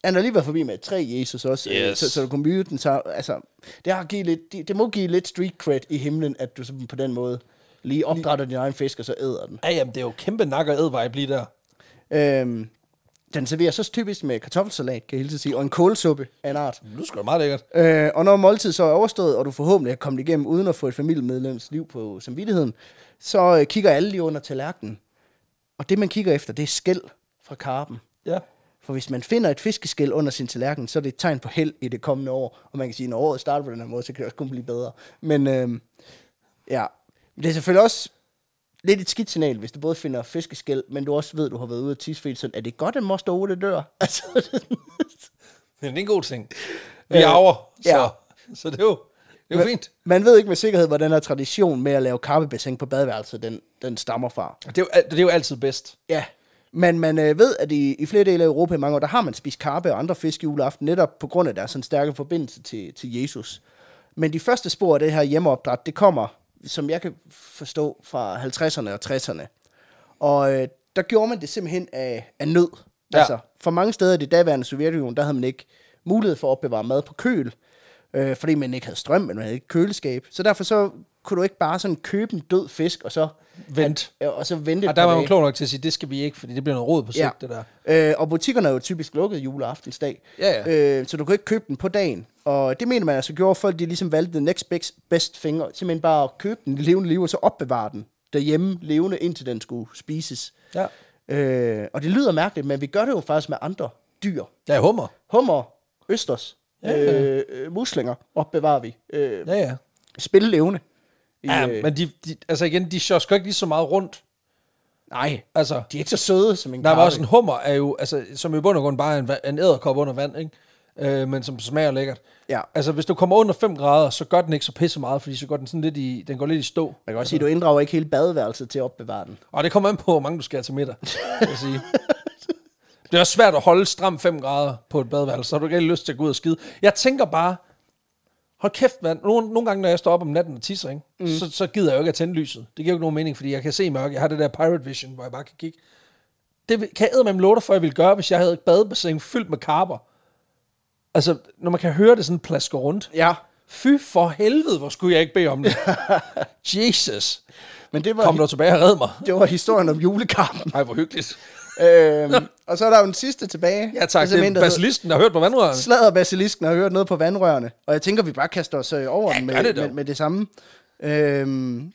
han har lige været forbi med et træ, Jesus også, Yes. yes. så, så du kunne myde den. Så, altså, det, har givet lidt, det, det må give lidt street cred i himlen, at du sådan på den måde lige opdrætter din egen fisk, og så æder den. Ja, jamen, det er jo kæmpe nak og ædvej lige der. Øhm, den serveres så typisk med kartoffelsalat, kan jeg hilse at sige, og en kålsuppe af en art. Det er sgu da meget lækkert. Øh, og når måltid så er overstået, og du forhåbentlig er kommet igennem uden at få et familiemedlems liv på samvittigheden, så øh, kigger alle lige under tallerkenen. Og det, man kigger efter, det er skæld fra karpen. Ja. For hvis man finder et fiskeskæl under sin tallerken, så er det et tegn på held i det kommende år. Og man kan sige, at når året starter på den her måde, så kan det også kun blive bedre. Men øhm, ja, Men det er selvfølgelig også lidt et skidt signal, hvis du både finder fiskeskæl, men du også ved, at du har været ude at tisse, fordi sådan, er det godt, at moster Ole dør? Altså, Men det er en god ting. Vi arver, så, Øh, ja. ja. så det er jo, det er jo fint. man ved ikke med sikkerhed, hvor den her tradition med at lave karpebassin på badeværelset, den, den stammer fra. Det er, jo, al- det er jo altid bedst. Ja, men man øh, ved, at i, i flere dele af Europa i mange år, der har man spist karpe og andre fisk juleaften, netop på grund af deres sådan stærke forbindelse til, til Jesus. Men de første spor af det her hjemmeopdræt, det kommer, som jeg kan forstå, fra 50'erne og 60'erne. Og øh, der gjorde man det simpelthen af, af nød. Ja. Ja. Altså, for mange steder i det daværende Sovjetunion, der havde man ikke mulighed for at opbevare mad på køl, øh, fordi man ikke havde strøm, men man havde ikke køleskab. Så derfor så kunne du ikke bare sådan købe en død fisk, og så, Vent. ja, og så vente Og et der par var man dage. klog nok til at sige, det skal vi ikke, fordi det bliver noget råd på sigt, ja. det der. Øh, og butikkerne er jo typisk lukket juleaftensdag. Ja, Øh, så du kan ikke købe den på dagen. Og det mener man altså gjorde, at folk de ligesom valgte the next best, best thing, og simpelthen bare at købe den i levende liv, og så opbevare den derhjemme levende, indtil den skulle spises. Ja. Øh, og det lyder mærkeligt, men vi gør det jo faktisk med andre dyr. Ja, hummer. Hummer, østers, Ja. ja. øh, øh, muslinger opbevarer vi. Øh, ja. Ja, ja. Spillelevende. I, Ja, øh, men de, de, altså igen, de sjovt sgu ikke lige så meget rundt. Nej, Altså, de er ikke så søde som en der var karpe. også en hummer, er jo, altså, som i bund og grund bare er en, va- en æderkop under vand, ikke? Øh, men som smager lækkert. Ja. Altså, hvis du kommer under 5 grader, så gør den ikke så pisse meget, fordi så går den sådan lidt i, den går lidt i stå. Man kan også sige, at du inddrager ikke hele badeværelset til at opbevare den. Og det kommer an på, hvor mange du skal have til middag, vil jeg sige. Det er også svært at holde stram 5 grader på et badeværelse, så har du ikke rigtig lyst til at gå ud og skide. Jeg tænker bare, hold kæft mand, nogle, nogle gange når jeg står op om natten og tisser, ikke? Mm. Så, så gider jeg jo ikke at tænde lyset. Det giver jo ikke nogen mening, fordi jeg kan se i mørke. Jeg har det der pirate vision, hvor jeg bare kan kigge. Det vil- kan jeg med låter for, jeg ville gøre, hvis jeg havde et badebassin fyldt med karper. Altså, når man kan høre det sådan plaske rundt. Ja. Fy for helvede, hvor skulle jeg ikke bede om det. Jesus, Men det var, kom dog tilbage og red mig. det var historien om julekampen. Ej, hvor hyggeligt. øhm, og så er der jo den sidste tilbage. Altså, Ja tak, det simpelthen en, er der basilisten, Altså, der har hørt på vandrørene. Slader basilisken har hørt noget på vandrørene, og jeg tænker, vi bare kaster os øh, over Ja, ja, den gør med det det, dog. med, med det samme. Øhm,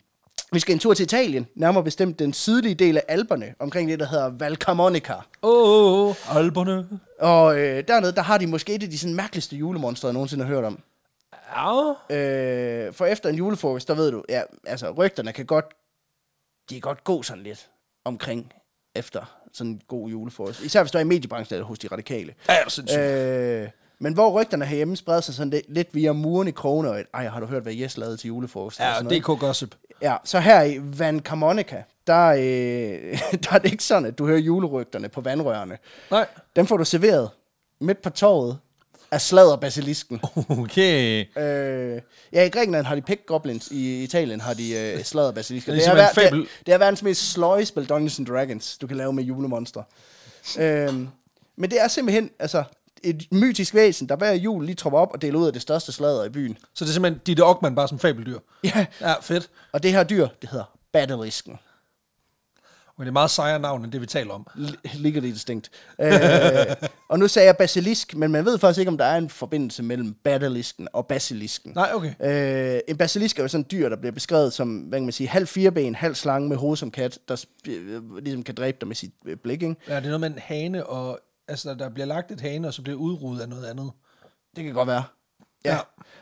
vi skal en tur til Italien, nærmere bestemt den sydlige del af Alperne, omkring det, der hedder Val Camonica. Åh, oh, oh, alberne. Og øh, dernede, der har de måske et af de sådan, mærkeligste julemonster, jeg nogensinde har hørt om. Ja. Øh, for efter en julefrokost, der ved du, ja, altså rygterne kan godt, de kan godt gå sådan lidt omkring efter sådan en god julefrokost. Især hvis du er i mediebranchen eller hos de radikale. Ja, er du sindssyg. Øh, men hvor rygterne herhjemme spreder sig sådan lidt, lidt via muren i krogene, og et, ej, har du hørt, hvad Jes lavede til julefrokost? og Ja, sådan noget. DK Gossip. ja, så her i Van Carmonica, der, øh, der er det ikke sådan, at du hører julerygterne på vandrørene. Nej. Dem får du serveret midt på torvet af sladder basilisken. Okay. Øh, ja, i Grækenland har de pick goblins, i Italien har de øh, sladder basilisker. Det er Det, er simpelthen ver- fabel. det, er- det er verdens mest sløje spil Dungeons and Dragons, du kan lave med julemonstre. øhm, men det er simpelthen altså, et mytisk væsen, der hver jul lige tropper op og deler ud af det største sladder i byen. Så det er simpelthen Ditte Ockmann bare som fabeldyr. Ja. Ja, fedt. Og det her dyr, det hedder basilisken. Men det er meget sejere navn, end det vi taler om. L- ligger det distinkt. Øh, og nu sagde jeg basilisk, men man ved faktisk ikke, om der er en forbindelse mellem basilisken og basilisken. Nej, okay. Øh, en basilisk er jo sådan et dyr, der bliver beskrevet som, hvad kan man sige, halv fireben, halv slange med hoved som kat, der sp- øh, ligesom kan dræbe dig med sit øh, blik, ikke? Ja, det er noget med en hane, og altså, der bliver lagt et hane, og så bliver udryddet af noget andet. Det kan godt være. Ja.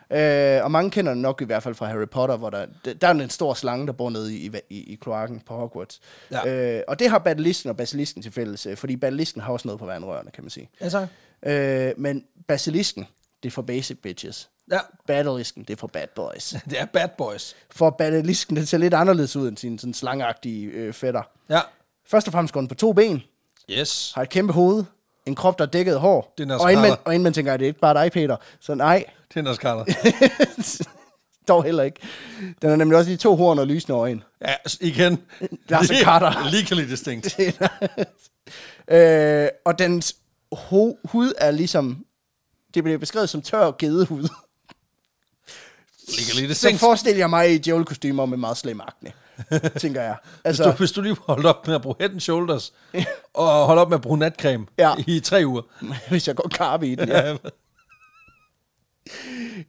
ja. Øh, og mange kender den nok i hvert fald fra Harry Potter, hvor der, d- der er en stor slange, der bor nede i, i, i, i kloakken på Hogwarts. Ja. Ja. Øh, og det har basilisken og basilisken til fælles, øh, fordi basilisken har også noget på vandrørene, kan man sige. Ja, tak. Øh, men basilisken, det er for basic bitches. Ja, Basilisken, det er for bad boys. det er bad boys. For basilisken, den ser lidt anderledes ud end sine sådan slangeagtige øh, fætter. Ja. Først og fremmest går den på to ben, Yes. har et kæmpe hoved, en krop, der er dækket af hår. Det er Nasser og, inden man, Carter. og inden man tænker, at det er ikke bare dig, Peter. Så nej, Det er Anders Carter. dog heller ikke. Den har nemlig også de to horn og lysende øjne. Ja, s- igen. Lars Lige- Carter. Legally distinct. øh, og dens ho- hud er ligesom... Det bliver beskrevet som tør gedehud. Legally Så distinct. forestil jeg mig i djævelkostymer med meget slem akne, tænker jeg. Hvis du, Altså, hvis du lige holdt op med at bruge head and shoulders, og holdt op med at bruge natcreme Ja. i tre uger. hvis jeg går karpe i den. Ja. Ja.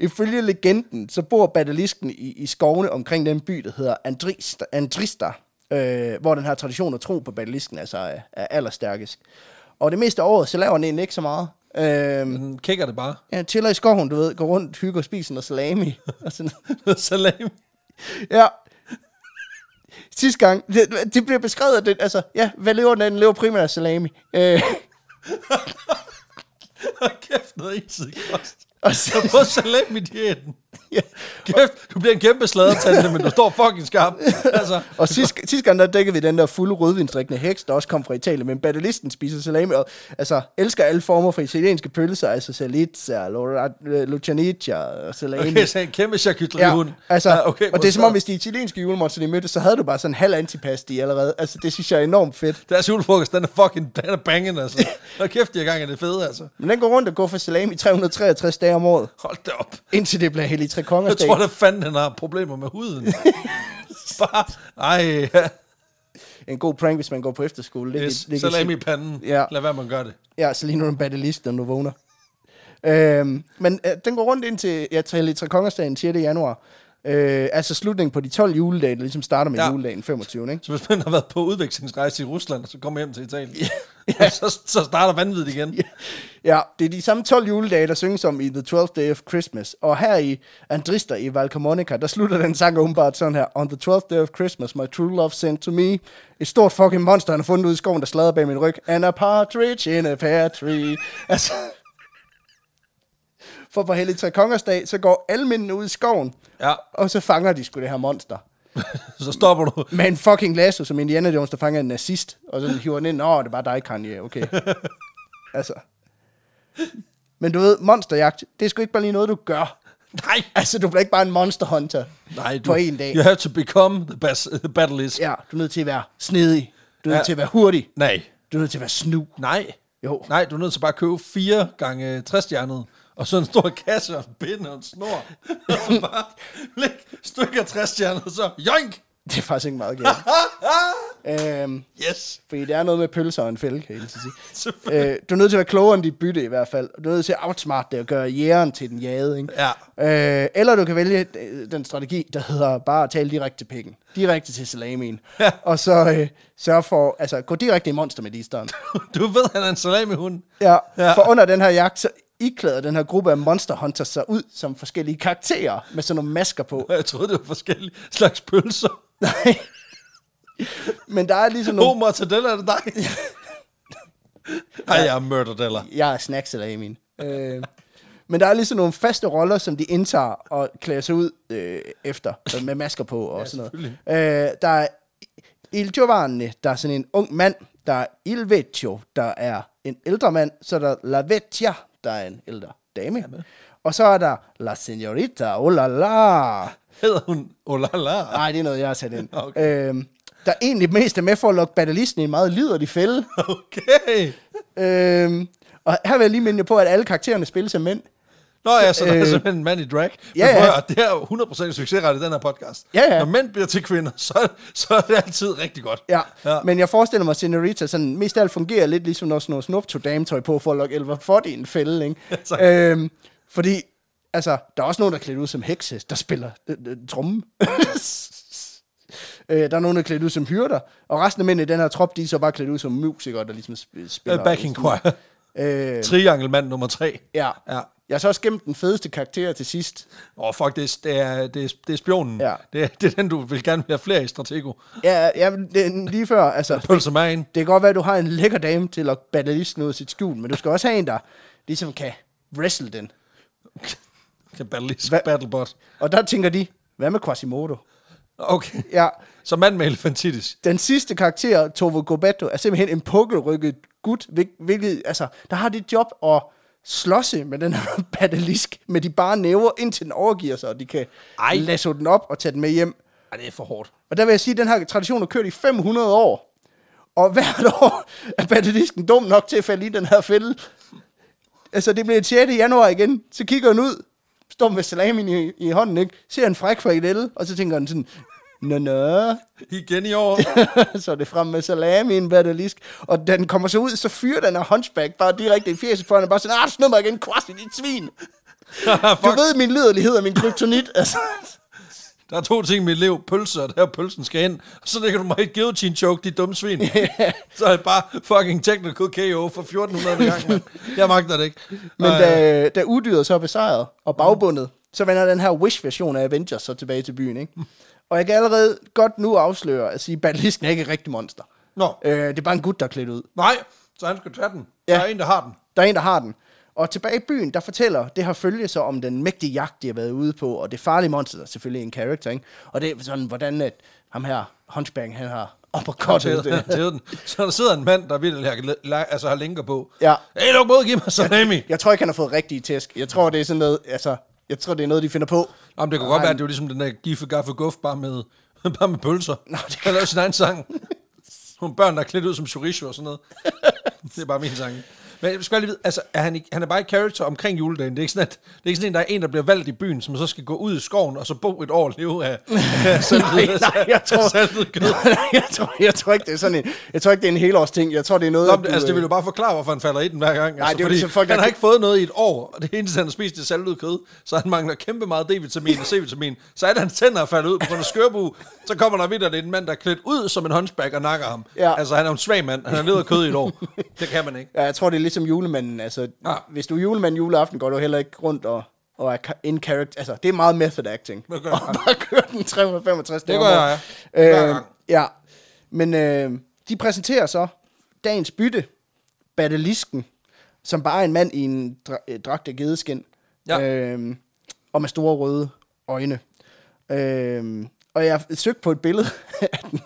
Ifølge legenden, så bor basilisken i, i skovene omkring den by, der hedder Andrista, Andrista øh, hvor den har tradition at tro på basilisken, altså er, er allerstærkest. Og det meste af året, så laver den egentlig ikke så meget. Øh, Den kigger det bare. ja, chiller i skoven, du ved, går rundt, hygger, spiser noget salami. Og sådan. Salam. Ja. Sidste gang, det, det bliver beskrevet, at det, altså, ja, hvad lever den af? Den lever primært af salami. Øh, Hold kæft, noget ensidigt kost. og så, Så prøv salam i diæten. ja. Kæft, du bliver en kæmpe sladertante, men du står fucking skarp. Altså, Og sidste, sidste gang, der dækkede vi den der fulde rødvinsdrikkende heks, der også kom fra Italien, men batalisten spiser salami, og altså, elsker alle former for italienske pølser, altså salizza, lucianitia og øh, salami. okay, så en kæmpe charcuteriehund. altså, Ja, okay, og det modtaget. er som om, hvis de italienske julemonster, de mødte, så havde du bare sådan en halv antipasti allerede. Altså, det synes jeg er enormt fedt. Deres julefrokost, den er fucking den er banging, altså. Hold kæft, de er gang i det fede, altså. Men den går rundt og går for salami 363 dage om året, Hold da op. indtil det bliver hellig tre Jeg kongers dag. tror da fanden, han har problemer med huden. Bare, ej, ja. En god prank, hvis man går på efterskole. Lidt, yes, i- lidt i- salam i panden. Ja. Lad være, man gør det. Ja, så lige nu er den batalist, når du vågner. Øhm, men øh, den går rundt indtil, ja, til Tre Kongersdagen 6. januar. Øh, altså slutningen på de 12 juledage, der ligesom starter med Ja. ja. juledagen 25. Ikke? Så hvis man har været på udvekslingsrejse i Rusland, og så kommer hjem til Italien, ja. så, så starter vanvittigt igen. Ja. Ja, det er de samme 12 juledage, der synges om i The 12th Day of Christmas. Og her i Andrister i Valcamonica, der slutter den sang åbenbart sådan her. On the 12th day of Christmas, my true love sent to me. Et stort fucking monster, han har fundet ud i skoven, der slader bag min ryg. And a partridge in a pear tree. Altså, for på Hellig Tre Kongers dag, så går alle mændene ud i skoven, ja. og så fanger de sgu det her monster. Så stopper du. Med en fucking lasso, som Indiana Jones, der fanger en nazist, og så hiver den ind, åh, det var dig, Kanye, okay. altså. Men du ved, monsterjagt, det er sgu ikke bare lige noget, du gør. Nej. Altså, du bliver ikke bare en monster hunter Nej, du, på en dag. You have to become the, bas, the battlist. Ja, du er nødt til at være snedig. Du er Ja. nødt til at være hurtig. Nej. Du er nødt til at være snu. Nej. Jo. Nej, du er nødt til bare at købe fire gange 60 stjernet og så en stor kasse og en pind og en snor. og så bare læg stykker 60 stjernet, og så joink! Det er faktisk ikke meget galt. Øhm, Yes. fordi det er noget med pølser og en fælde, kan jeg lige så sige. Selvfølgelig. Øh, du er nødt til at være klogere end dit bytte i hvert fald. Du er nødt til at outsmart det og gøre jægeren til den jade. Ikke? Ja. Øh, eller du kan vælge øh, den strategi, der hedder bare at tale direkte til pikken. Direkte til salamien. Ja. Og så øh, sørge for, altså gå direkte i monster med listeren. Du ved, han er en salamihund. Ja, Ja. ja. For under den her jagt, så iklæder den her gruppe af monster hunters sig ud som forskellige karakterer med sådan nogle masker på. Og Jeg troede, det var forskellige slags pølser. Nej. Men der er ligesom Åh, oh, nogle... mortadella, er det dig? Ej, jeg er murderdeller. Jeg er snacksalamin. Øh, men der er ligesom nogle faste roller, som de indtager og klæder sig ud øh, efter, øh, med masker på og sådan noget. Øh, der er Il Giovanni, der er sådan en ung mand, der er Il Vecchio, der er en ældre mand, så er der La Vecchia, der er en ældre dame, og så er der La Signorita, oh la la, Hedder hun Olala? Nej, det er noget, jeg har sat ind. Okay. Okay. Øhm, der egentlig mest er med for at lokke batalisten i en meget liderlig fælde. Okay. øhm, og her vil jeg lige minde jer på, at alle karaktererne spilles af mænd. Nå ja, så der er Øh. simpelthen en mand i drag. Ja, Men prøv ja. at høre, Det er jo 100% succesret i den her podcast. Ja, ja. Når mænd bliver til kvinder, så, så er det altid rigtig godt. Ja. ja. ja. Men jeg forestiller mig, at Senorita sådan, mest af alt fungerer lidt ligesom, når sådan noget snupto dametøj på for at lokke Elver Ford i en fælde. Ikke? Ja, tak. øhm, fordi, altså, der er også nogen, der er klædt ud som hekse, der spiller øh, øh, tromme. øh, der er nogen, der er klædt ud som hyrder, og resten af mændene i den her trop, de er så bare klædt ud som musikere, der ligesom sp- spiller. Uh, backing choir. Øh, Triangle mand nummer tre. Ja. Ja. ja. Jeg har så også gemt den fedeste karakter til sidst. Åh, oh, fuck, det er, det, er, det, er, det er spionen. Ja. Det, er, det er den, du vil gerne vil have flere i Stratego. Ja, ja men det er lige før, altså. Pølser med en. Det kan godt være, at du har en lækker dame til at batalisten ud af sit skjul, men du skal også have en, der ligesom kan wrestle den. Kan battleisk Hvad? battlebot. Og der tænker de, hvad med Quasimodo? Okay. Ja, Så mand med elefantitis. den sidste karakter, Tove Gobatto, er simpelthen en pukkelrykket gut, hvil- hvilket, altså, der har det job at slåsse med den her batalisk med de bare næver, indtil den overgiver sig, og de kan Ej. lasso den op og tage den med hjem. Ej, det er for hårdt. Og der vil jeg sige, at den her tradition har kørt i 500 år. Og hvert år er batalisten dum nok til at falde i den her fælde. Altså, det bliver 6. januar igen. Så kigger han ud, står med salamin i, i hånden, ikke? Ser en fræk frikadelle, og så tænker han sådan, Nå, nå. Igen i år. så er det frem med salamien, batalisk. Og da den kommer så ud, så fyrer den her hunchback bare direkte i fjeset for, han er bare sådan, ah, snød mig igen, kvast i dit svin. Fuck. Du ved min liderlighed og min kryptonit, altså. Der er to ting i mit liv. Pølser, og der er pølsen skal ind. Og så lægger du mig i et guillotine choke, dit dumme svin. så er det bare fucking technical KO for 1400 gange, mand. Jeg magter det ikke. Øh, Men Ej, da, da udyret så er besejret og bagbundet, så vender den her Wish-version af Avengers så tilbage til byen, ikke? Og jeg kan allerede godt nu afsløre at sige, at Batalisken er ikke et rigtigt monster. Nå. Øh, det er bare en gut, der er klædt ud. Nej, så han skal tage den. Ja. Ja. Der er en, der har den. Der er en, der har den. Og tilbage i byen, der fortæller det her følge så om den mægtige jagt, de har været ude på, og det farlige monster, der er selvfølgelig en karakter, ikke? Og det er sådan, hvordan at ham her, Hunchback, han har uppercuttet Tæde, det. tæde den. Så der sidder en mand, der vil, altså, har linker på. Ja. Hey, du må give mig salami. Jeg tror ikke, han har fået rigtige tæsk. Jeg tror, det er sådan noget, altså, jeg tror, det er noget, de finder på. Jamen, det kunne godt være, at det var ligesom den der giffe gaffe guff, bare med, bare med pølser. Nå, det kan lave sin egen sang. Nogle børn, der er klædt ud som chorizo og sådan noget. det er bare min sang. Men jeg skal bare lige vide, altså, er han, ikke, han er bare et character omkring juledagen. Det er ikke sådan, at, det er ikke sådan en, der er en, der bliver valgt i byen, som så skal gå ud i skoven og så bo et år og leve af, af nej, nej, jeg tror, saltet kød. nej, jeg tror, jeg tror ikke, det er sådan en, jeg tror ikke, det er en helårsting. Jeg tror, det er noget, Nå, at men, du, altså, det vil øh, jo bare forklare, hvorfor han falder i den hver gang. Nej, altså, det er jo ligesom folk, folk, han der har kan- ikke fået noget i et år, og det eneste, han har spist, det er saltet kød, så han mangler kæmpe meget D-vitamin og C-vitamin. Så er det, hans tænder er faldet ud på grund af skørbu, så kommer der vidt, at det er en mand, der er klædt ud som en hunchback og nakker ham. Ja. Ja. Altså, han er jo en svag mand. Han har levet af kød i et år. Det kan man ikke. ja, jeg tror, det er ligesom julemanden. Altså, Ja. ja. hvis du er julemand juleaften, går du heller ikke rundt og, og er ka- in character. Altså, det er meget method acting. Det gør og jeg. bare køre den 365 Det gør jeg, ja. Hver Øh, gang. ja, men øh, de præsenterer så dagens bytte, Batalisken, som bare er en mand i en dra- øh, dragt af gedeskin. Ja. Øh, og med store røde øjne. Øh, og jeg søgte på et billede af den.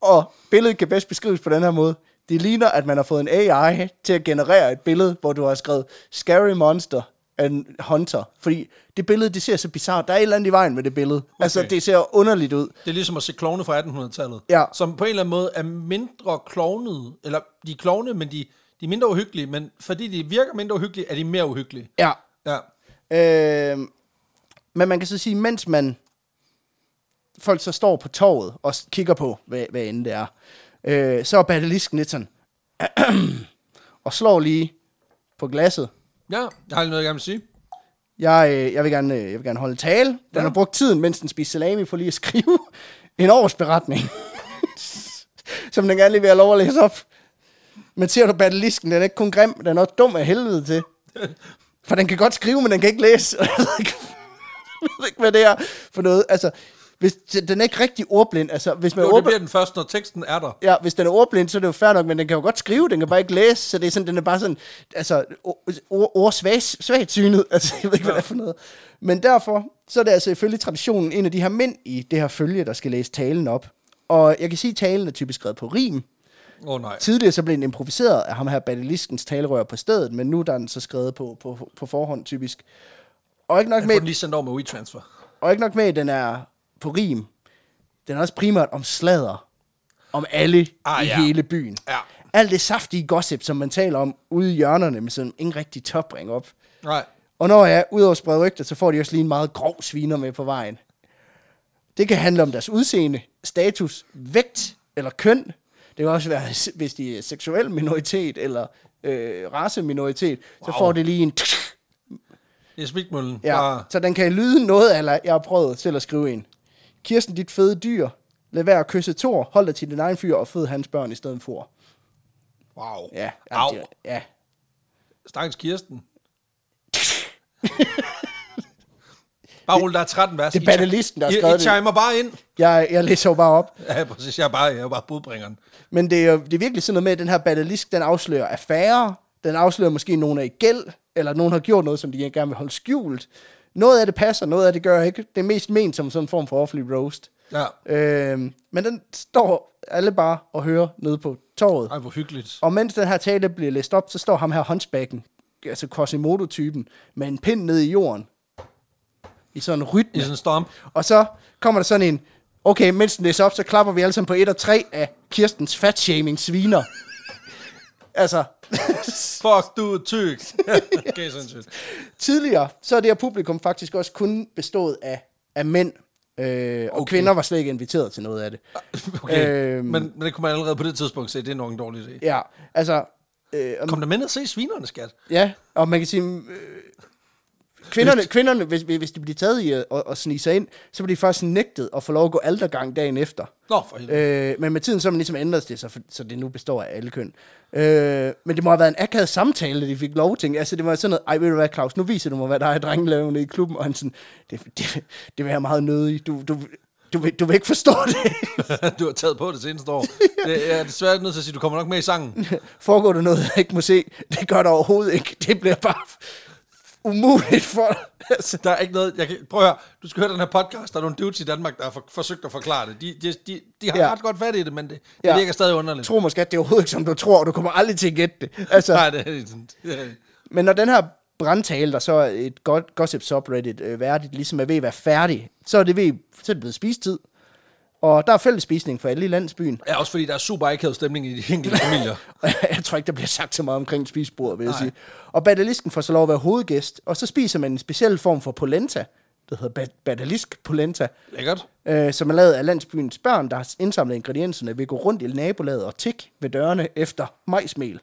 Og billedet kan bedst beskrives på den her måde. Det ligner, at man har fået en AI til at generere et billede, hvor du har skrevet Scary Monster and Hunter. Fordi det billede, det ser så bizarrt. Der er et eller andet i vejen med det billede. Okay. Altså, Okay. det ser underligt ud. Det er ligesom at se klovne fra 1800-tallet, Ja. som på en eller anden måde er mindre klovnede, eller de er klovne, men de, de er mindre uhyggelige, men fordi de virker mindre uhyggelige, er de mere uhyggelige. Ja. Ja. Øh, men man kan så sige, mens man folk så står på torvet og s- kigger på, hvad, hvad end det er, øh, så er basilisken lidt sådan, og slår lige på glasset. Ja, jeg har lige noget, jeg gerne vil sige. Jeg, øh, jeg, vil gerne, øh, jeg vil gerne holde en tale. Den Ja. har brugt tiden, mens den spiser salami, på lige at skrive en årsberetning, som den gerne lige vil have lov at læse op. Men ser du basilisken, den er ikke kun grim, den er også dum af helvede til. For den kan godt skrive, men den kan ikke læse. Jeg ved ikke, jeg ved ikke, hvad det er for noget. Altså, hvis, den er ikke rigtig ordblind. Altså, hvis man Jo, det åbner, bliver den første, når teksten er der. Ja, hvis den er ordblind, så er det jo fair nok, men den kan jo godt skrive, den kan bare ikke læse, så det er sådan, den er bare sådan, altså, ord, ord svag, svagt synet, altså, jeg ved ikke, hvad det er for noget. Men derfor, så er det altså ifølge traditionen en af de her mænd i det her følge, der skal læse talen op. Og jeg kan sige, at talen er typisk skrevet på rim. Åh oh, nej. Tidligere så blev den improviseret af ham her Badeliskens talerør på stedet, men nu er den så skrevet på, på, på forhånd typisk. Og ikke nok Jeg med, får den lige sendt over med WeTransfer. og ikke nok med, at den er på rim. Den er også primært om slader. Om alle ah, Ah, i ja. ja. hele byen. Ja. Alt det saftige gossip, som man taler om ude i hjørnerne, men som ingen rigtig tør bringe op. Nej. Og når jeg er ude over sprede rygter, så får de også lige en meget grov sviner med på vejen. Det kan handle om deres udseende, status, vægt eller køn. Det kan også være, hvis de er seksuel minoritet eller øh, raceminoritet, wow. så Wow. får det lige en... Det er smikmøllen. Ja, Bare- så den kan lyde noget, eller jeg har prøvet selv at skrive en. Kirsten, dit fede dyr. Lad være at kysse Thor. Hold dig til din egen fyr og fed hans børn i stedet for. Wow. Ja. ja, Au. det- ja. Stakkels Kirsten. bare rulle, der er 13 vers. Det er I- banalisten, der har I- skrevet I det. timer bare ind. Jeg, jeg læser jo bare op. Ja, præcis. Jeg er bare, jeg er bare budbringeren. Men det er, jo- det er virkelig sådan noget med, at den her batalisk, den afslører affærer. Den afslører måske, at nogen er i gæld, eller at nogen har gjort noget, som de gerne vil holde skjult. Noget af det passer, noget af det gør ikke. Det er mest ment som sådan en form for offentlig roast. Ja. Øhm, men den står alle bare og hører nede på torvet. Ej, hvor hyggeligt. Og mens den her tale bliver læst op, så står ham her hunchbacken, altså Quasimodo-typen, med en pind ned i jorden. I sådan en I rytme. sådan en storm. Og så kommer der sådan en, okay, mens den læser op, så klapper vi alle sammen på et og tre af Kirstens fatshaming sviner. altså, Fuck, du er tyk. okay, sindssygt. tidligere, så er det her publikum faktisk også kun bestået af, af mænd. Øh, og okay. kvinder var slet ikke inviteret til noget af det. Ah. Okay. Øhm. Øhm. Men, men det kunne man allerede på det tidspunkt se, det er nok en dårlig idé. Ja, altså... Øh, om- Kom der med og se svinerne, skat. Ja, og man kan sige, øh, kvinderne, kvinderne hvis, hvis de bliver taget i at, at, at snige sig ind, så bliver de først nægtet at få lov at gå aldergang dagen efter. Nå, for helvede. Øh. Øh, men med tiden så har man ligesom ændret det, så, for- så det nu består af alle køn. Øh, men det må have været en akavet samtale, de fik lov til. Altså det var sådan noget, ej ved du hvad Claus, nu viser du mig, hvad der er i drengelavene i klubben. Og han sådan, det, det, det vil jeg meget nødig, du, du, du, vil, du vil ikke forstå det. du har taget på det seneste år. Det er desværre nødt til at sige, du kommer nok med i sangen. Foregår der noget, jeg ikke må se? Det gør der overhovedet ikke. Det bliver bare umuligt for dig. Der er ikke noget, jeg kan, prøv at høre, du skal høre den her podcast, der er nogle dudes i Danmark, der har for, forsøgt at forklare det. De, de, de, de har Ja. ja. ret godt fat i det, men det, det Ja. ja. virker stadig underligt. tro måske, at det er overhovedet ikke, som du tror, og du kommer aldrig til at gætte det. Altså, Nej, det er sådan. men når den her brandtale, der så er et godt gossip subreddit øh, værdigt, ligesom er ved at være færdig, så er det, ved, så er det blevet spistid. Og der er fællesspisning for alle i landsbyen. Ja, også fordi der er super akavet stemning i de enkelte familier. Og jeg tror ikke, der bliver sagt så meget omkring spisebordet, vil jeg Nej. sige. Og badalisken får så lov at være hovedgæst, og så spiser man en speciel form for polenta, der hedder bad- badalisk polenta, Lækkert. øh, som er lavet af landsbyens børn, der har indsamlet ingredienserne ved at gå rundt i nabolaget og tik ved dørene efter majsmel.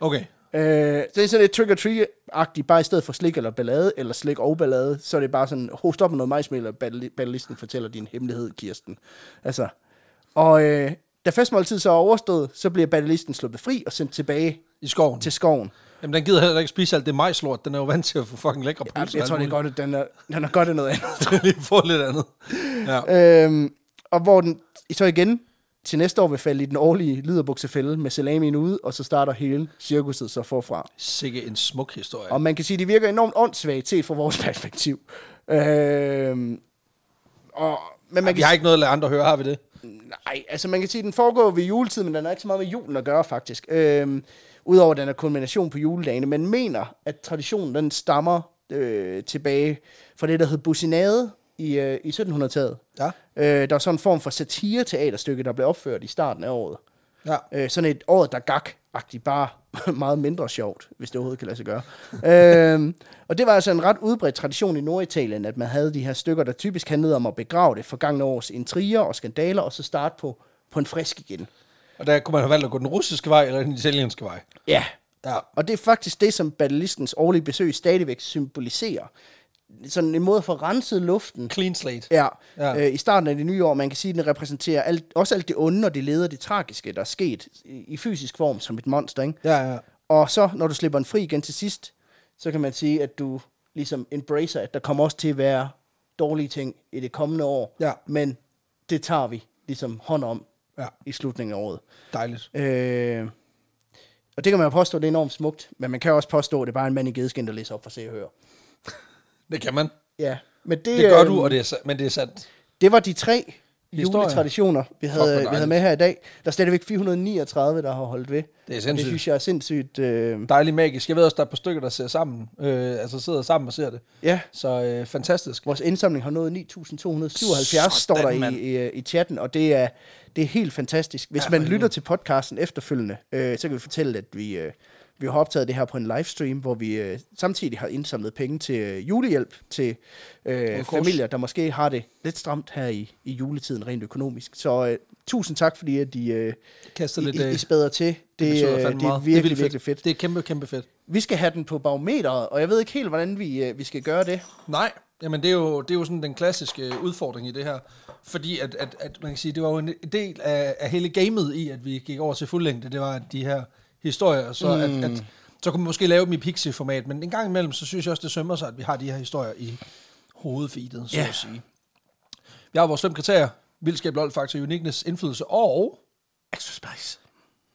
Okay. Øh, så det er sådan lidt trick-or-treat-agtigt, bare i stedet for slik eller ballade, eller slik og ballade, så er det bare sådan, host op med noget majsmel, og batteri- batteristen fortæller din hemmelighed, Kirsten. Altså, og øh, da festmåltid så er overstået, så bliver batteristen sluppet fri og sendt tilbage I skoven. til skoven. Jamen, den gider heller ikke spise alt det majslort. Den er jo vant til at få fucking lækre pølser. Jeg, og jeg alt tror, det er muligt. godt, at den er, den er godt af noget andet. lige få lidt andet. Ja. Øhm, og hvor den så igen til næste år vil falde i den årlige liderbuksefælde med salamien ude, og så starter hele cirkuset så forfra. Sikke en smuk historie. Og man kan sige, at de virker enormt åndssvagt set fra vores perspektiv. Øhm, og, men Men man kan, vi har ikke noget at lade andre høre, har vi det? nej, altså man kan sige, at den foregår ved juletid, men den har ikke så meget med julen at gøre, faktisk. Øhm, Udover at den er kulmination på juledagene. Man mener, at traditionen den stammer øh, tilbage fra det, der hed Businade i, øh, i 1700-tallet. Ja. Øh, der var sådan en form for satire-teaterstykke, der blev opført i starten af året. Ja. Øh, sådan et året, der gak agtigt bare meget mindre sjovt, hvis det overhovedet kan lade sig gøre. øhm, og det var altså en ret udbredt tradition i Norditalien, at man havde de her stykker, der typisk handlede om at begrave det forgangne års intriger og skandaler, og så starte på, på en frisk igen. Og der kunne man have valgt at gå den russiske vej eller den italienske vej. Ja. Ja. Og det er faktisk det, som batalistens årlige besøg stadigvæk symboliserer. Sådan en måde for at få renset luften. Clean slate. Ja, Ja. ja. Øh, i starten af det nye år, man kan sige, at den repræsenterer alt, også alt det onde og det leder det tragiske, der er sket i, i fysisk form som et monster. Ikke? Ja, ja. Og så, når du slipper den fri igen til sidst, så kan man sige, at du ligesom embracer, at der kommer også til at være dårlige ting i det kommende år. Ja. Men det tager vi ligesom hånd om Ja. i slutningen af året. Dejligt. Øh, og det kan man jo påstå, det er enormt smukt, men man kan også påstå, at det er bare en mand i gedeskin, der læser op for se og høre. Det kan man. Ja, men det, Det gør øh, du, og det er, sa- men det er sandt. Det var de tre Historier. juletraditioner, vi hvor havde, vi havde dejligt. med her i dag. Der er stadigvæk 439, der har holdt ved. Det er Det sindssygt. synes jeg er sindssygt. Øh, Dejligt magisk. Jeg ved også, der er et par stykker, der ser sammen. Øh, altså sidder sammen og ser det. ja, Så øh, fantastisk. vores indsamling har nået 9.277, står der Sådan, i, mand. i, øh, i chatten, og det er, det er helt fantastisk. Hvis Ja, ja, for man helvede. lytter til podcasten efterfølgende, øh, så kan vi fortælle, at vi, øh, vi har optaget det her på en livestream, hvor vi øh, samtidig har indsamlet penge til øh, julehjælp til øh, Kors. familier, der måske har det lidt stramt her i, i juletiden rent økonomisk. Så øh, tusind tak, fordi at I... Øh, Kaster lidt... I, I, øh, I spæder til. Det, det, betyder øh, fandme det er meget. virkelig, vildt virkelig fedt. Det er kæmpe, kæmpe fedt. Vi skal have den på barometeret, og jeg ved ikke helt, hvordan vi, øh, vi skal gøre det. Nej, jamen det er jo, det er jo sådan den klassiske øh, udfordring i det her. Fordi at, at, at man kan sige, det var jo en del af, af hele gamet i, at vi gik over til fuldlængde, det var at de her historier, så mm. at, at så kunne man måske lave dem i pixie-format, men en gang imellem, så synes jeg også, det sømmer sig, at vi har de her historier i hovedfeedet, så Ja. at sige. Vi har vores fem kriterier, vildskab, lol, faktor, uniqueness, indflydelse og Extra spice.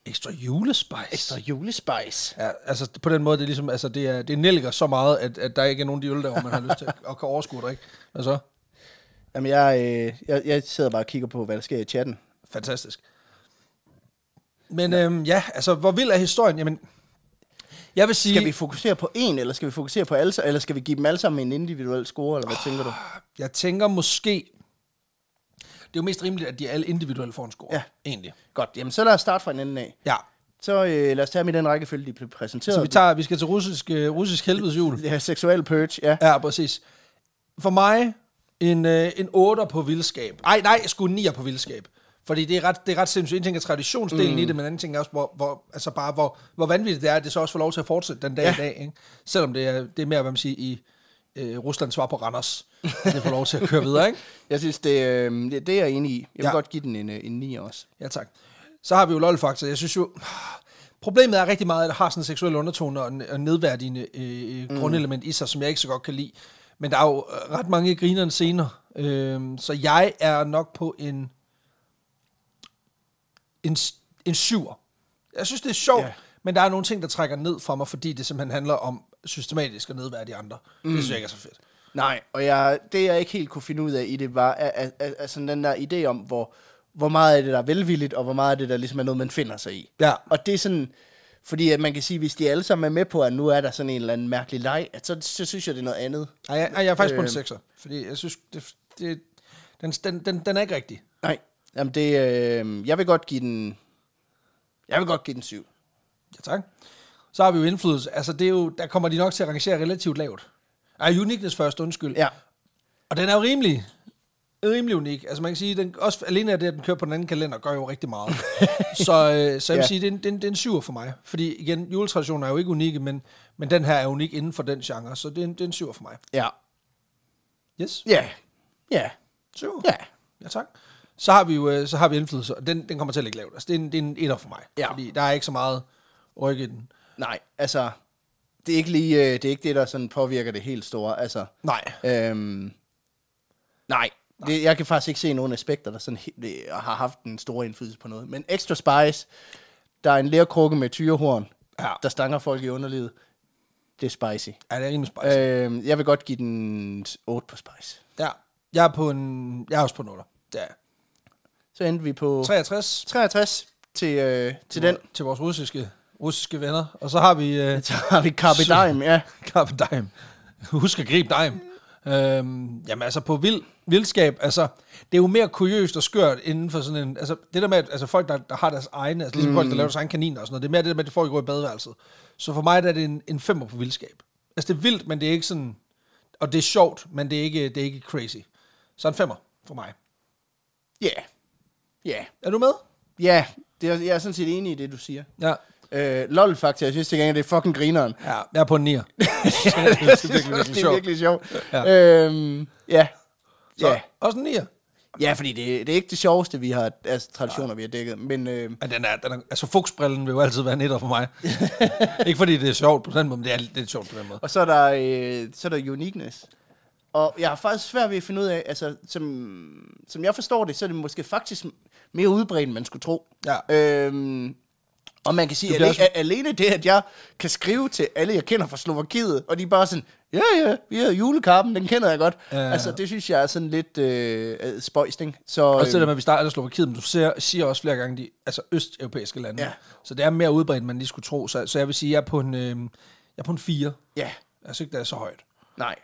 ekstra julespice. Ekstra julespice. Ja, altså på den måde, det er ligesom, altså det er, det nælger så meget, at, at der ikke er nogen af de øl, der man har lyst til at, at kan overskue det, ikke? Altså, Jamen, jeg, øh, jeg, jeg sidder bare og kigger på, hvad der sker i chatten. fantastisk. Men øhm, ja, altså, hvor vild er historien? Jamen, jeg vil sige, Skal vi fokusere på en, eller skal vi fokusere på alle, eller skal vi give dem alle sammen en individuel score, eller hvad tænker du? jeg tænker måske, det er jo mest rimeligt, at de alle individuelt får en score, Ja. egentlig. Godt, jamen så lad os starte fra en ende af. Ja, Så øh, lad os tage dem i den rækkefølge, de blev præsenteret. så vi, tager, vi skal til russisk, øh, russisk helvedesjul. Det her seksuelle purge, ja. Ja, præcis. For mig, en, øh, en 8 på vildskab. Ej, nej, sgu en 9 på vildskab. Fordi det er ret, det er ret sindssygt. En ting er traditionsdelen mm. i det, men anden ting er også, hvor, hvor, altså bare, hvor, hvor vanvittigt det er, at det så også får lov til at fortsætte den dag ja. Ja. i dag. Ikke? Selvom det er, det er mere, hvad man siger, i øh, Rusland svar på Randers. at det får lov til at køre videre, ikke? Jeg synes, det, øh, det, det er jeg enig i. Jeg vil Ja. ja. godt give den en, øh, en 9 også. Ja, tak. Så har vi jo lol-faktor. Jeg synes jo, problemet er rigtig meget, at det har sådan en seksuel undertone og, en- og nedværdigende øh, mm. grundelement i sig, som jeg ikke så godt kan lide. Men der er jo øh, ret mange grinerende scener. Øh, så jeg er nok på en en, s- en syver. Jeg synes, det er sjovt, Ja. men der er nogle ting, der trækker ned fra mig, fordi det simpelthen handler om systematisk at nedværdige andre. Mm. Det synes jeg ikke er så fedt. Nej, og jeg, det jeg ikke helt kunne finde ud af i det, var at, at, at, at sådan den der idé om, hvor, hvor meget af det, der er velvilligt, og hvor meget af det, der ligesom er noget, man finder sig i. Ja. Og det er sådan, fordi at man kan sige, hvis de alle sammen er med på, at nu er der sådan en eller anden mærkelig leg, at så, så synes jeg, det er noget andet. Ej, jeg, ej, jeg er faktisk øh. på en Øh. sekser, fordi jeg synes, det, det, den, den, den, den er ikke rigtig. Nej, jamen det, øh, jeg vil godt give den, jeg vil godt give den syv. Ja, tak. Så har vi jo indflydelse. Altså, det er jo, der kommer de nok til at rangere relativt lavt. Ej, uniqueness først, undskyld. Ja, Og den er jo rimelig, rimelig unik. Altså, man kan sige, den, også alene af det, at den kører på den anden kalender, gør jo rigtig meget. så, øh, så jeg vil Ja. sige, det er, en- det, er en- det er en syver for mig. Fordi igen, juletraditioner er jo ikke unikke, men, men den her er unik inden for den genre, så det er en, det er en syver for mig. ja, Yes, ja, ja, syver. ja. Ja, tak. Så har vi jo øh, så har vi indflydelse, og den, den kommer til at ligge lavt. Altså, det er en, det er en etter for mig. Ja. Fordi der er ikke så meget ryk i den. Nej, altså, det er ikke lige, øh, det er ikke det, der sådan påvirker det helt store, altså. Nej. Øhm, nej, det, jeg kan faktisk ikke se nogen aspekter, der sådan he- det, har haft en stor indflydelse på noget. Men Extra Spice, der er en lærkrukke med tyrehorn, Ja. der stanger folk i underlivet. Det er spicy. Ja, det er rimelig spicy. Øhm, jeg vil godt give den 8 på Spice. Ja, jeg er på en... Jeg er også på en 8. Ja. Så endte vi på 63 63 til, øh, til den. til vores russiske, russiske venner. Og så har vi øh, Så har vi Carpe Diem, ja. Carpe Diem. Husk at gribe Dime. Øhm, jamen altså på vild, vildskab, altså det er jo mere kuriøst og skørt inden for sådan en, altså det der med, at altså, folk der, der har deres egne, altså ligesom mm. folk der laver deres egne kaniner og sådan noget, det er mere det der med, at folk går i badeværelset. Så for mig der er det en, en femmer på vildskab. Altså det er vildt, men det er ikke sådan, og det er sjovt, men det er ikke, det er ikke crazy. Så en femmer for mig. Ja. Ja. Er du med? Ja, det er- jeg er sådan set enig i det, du siger. Ja. Øh, lol faktisk, jeg synes til gengæld, det er fucking grineren. Ja, jeg er på en nier. det er Jeg synes virkelig, også, virkelig det er sjovt. virkelig sjovt. Ja. Ja. Øhm, ja. Så, Ja. Også en nier. ja, fordi det, det er ikke det sjoveste, vi har, altså traditioner, vi har dækket. Men øh, Men den er, den er, altså fugsbrillen vil jo altid være en etter for mig. ikke fordi det er sjovt på den måde, men det er, det er sjovt på den måde. Og så er der, øh, så er der uniqueness. Og jeg har faktisk svært ved at finde ud af, altså, som, som jeg forstår det, så er det måske faktisk mere udbredt, end man skulle tro. Ja. Øhm, og man kan sige, Du at bliver også... alene det, at jeg kan skrive til alle, jeg kender fra Slovakiet, og de er bare sådan, ja, ja, ja, julekarpen, den kender jeg godt. Ja. Altså, det synes jeg er sådan lidt øh, øh, spøjst, ikke? Så, Også det der med, at vi starter i Slovakiet, men du ser, siger også flere gange, de, altså østeuropæiske lande. Ja. Så det er mere udbredt, end man lige skulle tro. Så, så jeg vil sige, at jeg er på en, øh, jeg er på en 4. øh, Ja, Jeg synes ikke, det er så højt. nej.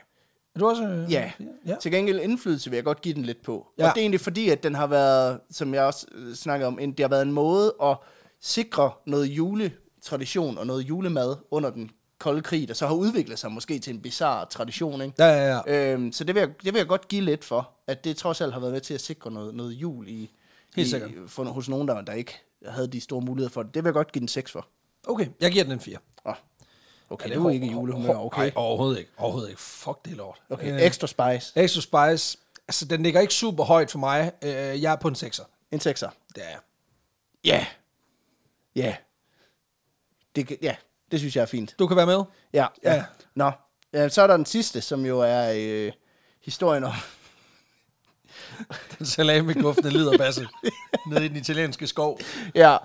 Er du også? Øh, Ja. ja. ja. Til gengæld indflydelse vil jeg godt give den lidt på. Ja. Ja. Og det er egentlig fordi, at den har været, som jeg også øh, snakkede om, en, det har været en måde at sikre noget juletradition og noget julemad under den kolde krig, der så har udviklet sig måske til en bizarre tradition. Ikke? Ja, ja, ja. Øhm, så det vil, jeg, det vil jeg godt give lidt for, at det trods alt har været med til at sikre noget, noget jul i, Helt i, sikkert. for, hos nogen, der, der ikke havde de store muligheder for det. Det vil jeg godt give den 6 for. Okay, jeg giver den en 4. Oh. Ja, Okay, det var hår- ikke hår- julehumør, hår- okay. Nej, overhovedet ikke. Overhovedet ikke. Fuck, det er lort. Okay, Øh, ekstra spice. Extra Spice, altså den ligger ikke super højt for mig. Øh, jeg er på en 6'er. En 6'er. Det er jeg. Ja. Ja. Det, kan- ja, det synes jeg er fint. Du kan være med. Ja. Ja. ja. Nå, ja, så er der den sidste, som jo er øh, historien om... Den salami-duftende liderbasse nede i den italienske skov. ja.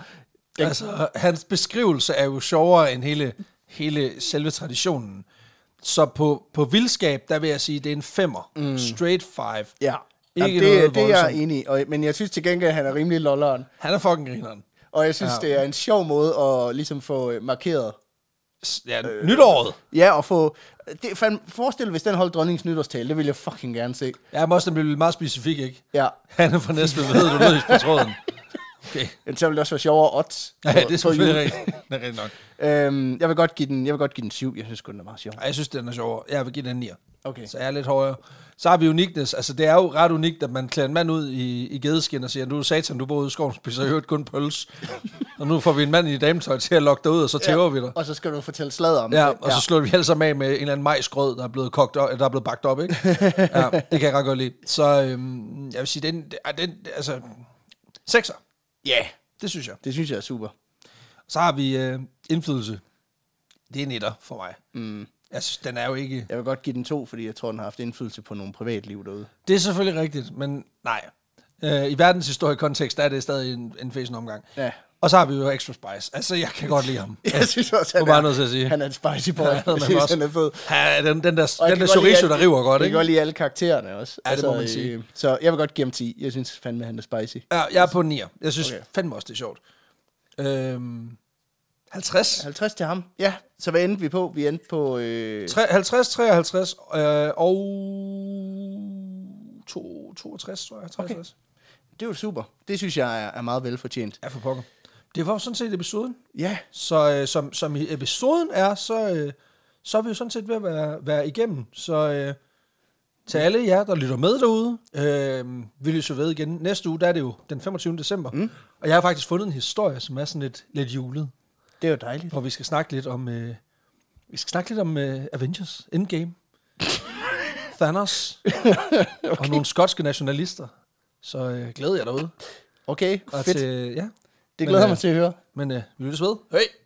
Den, altså, Altså, hans beskrivelse er jo sjovere end hele, hele selve traditionen. Så på, på vildskab, der vil jeg sige, det er en femmer. Mm. Straight five. ja. Ikke Jamen, noget det, det er jeg voldsomt. enig i, og, men jeg synes til gengæld, at han er rimelig lolleren. Han er fucking grineren. Og jeg synes, ja. det er en sjov måde at ligesom få øh, markeret. S- Ja, øh. nytåret. Ja, og få... Det, fandme, forestil dig, hvis den holdt dronningens nytårstale. Det ville jeg fucking gerne se. Ja, men også den blev meget specifik, ikke? Ja. Han er fra Næstved, ved du, løs på tråden. Okay. Men så ville det også være sjovere odds. Ja, på- det er på selvfølgelig jul. rigtigt. Det er rigtigt nok. Øhm, jeg vil godt give den, jeg vil godt give den syv. Jeg synes kun, den er meget sjov. Ej, jeg synes, den er sjovere. Jeg vil give den en 9'er. Okay. Så jeg er lidt højere. Så har vi uniqueness. Altså, det er jo ret unikt, at man klæder en mand ud i, i gedeskin og siger, du er satan, du bor ude i skoven, spiser i øvrigt kun pøls. og nu får vi en mand i dametøj til at lokke dig ud, og så tæver ja. vi dig. Og så skal du fortælle sladder om Ja, det. og så slår vi alle sammen af med en eller anden majsgrød, der er blevet, kogt op, der er blevet bagt op, ikke? ja, det kan jeg ret godt lide. Så øhm, jeg vil sige, den, det- ah, den altså, sekser, Ja, det synes jeg. det synes jeg er super. Så har vi øh, indflydelse. Det er en etter for mig. Mm. Jeg synes, den er jo ikke... Jeg vil godt give den to, fordi jeg tror, den har haft indflydelse på nogle privatliv derude. Det er selvfølgelig rigtigt, men nej. Øh, I verdenshistorisk kontekst der er det stadig en, en fæsen omgang. Ja. Og så har vi jo Extra Spice. Altså, jeg kan godt lide ham. Jeg synes også, Du er bare nødt til at sige. han er en spicy boy. Ja, Ja, jeg man synes, også. han er fed. Ja, den, den der, Og jeg den der kan godt lide chorizo, alle- der river godt, Jeg kan ikke? godt lide alle karaktererne også. Ja, det må man øh, sige. Så jeg vil godt give ham 10. Jeg synes fandme, han er spicy. Ja, jeg er på en 9'er. Jeg synes okay. Okay. fandme også, det er sjovt. Øhm, 50? 50 til ham. Ja, så hvad endte vi på? Vi endte på... Øh, Tre- 50, 53 øh, og to- 62, tror jeg. 63. Okay. det er jo super. Det synes jeg er, er meget velfortjent. Ja, for pokker. Det var jo sådan set episoden. Ja, Så øh, som, som i episoden er, så, øh, så er vi jo sådan set ved at være, være igennem. Så øh, til alle jer, der lytter med derude, øh, vi lyser ved igen. Næste uge, der er det jo den 25. december. Mm. Og jeg har faktisk fundet en historie, som er sådan lidt, lidt julet. det er jo dejligt. Hvor vi skal snakke lidt om, øh, vi skal snakke lidt om øh, Avengers Endgame. Thanos. okay. Og nogle skotske nationalister. Så øh, glæder jeg derude. Okay, Og fedt. Til, ja, Det men, glæder jeg øh, mig til at høre. men øh, vi lyttes ved. Hej!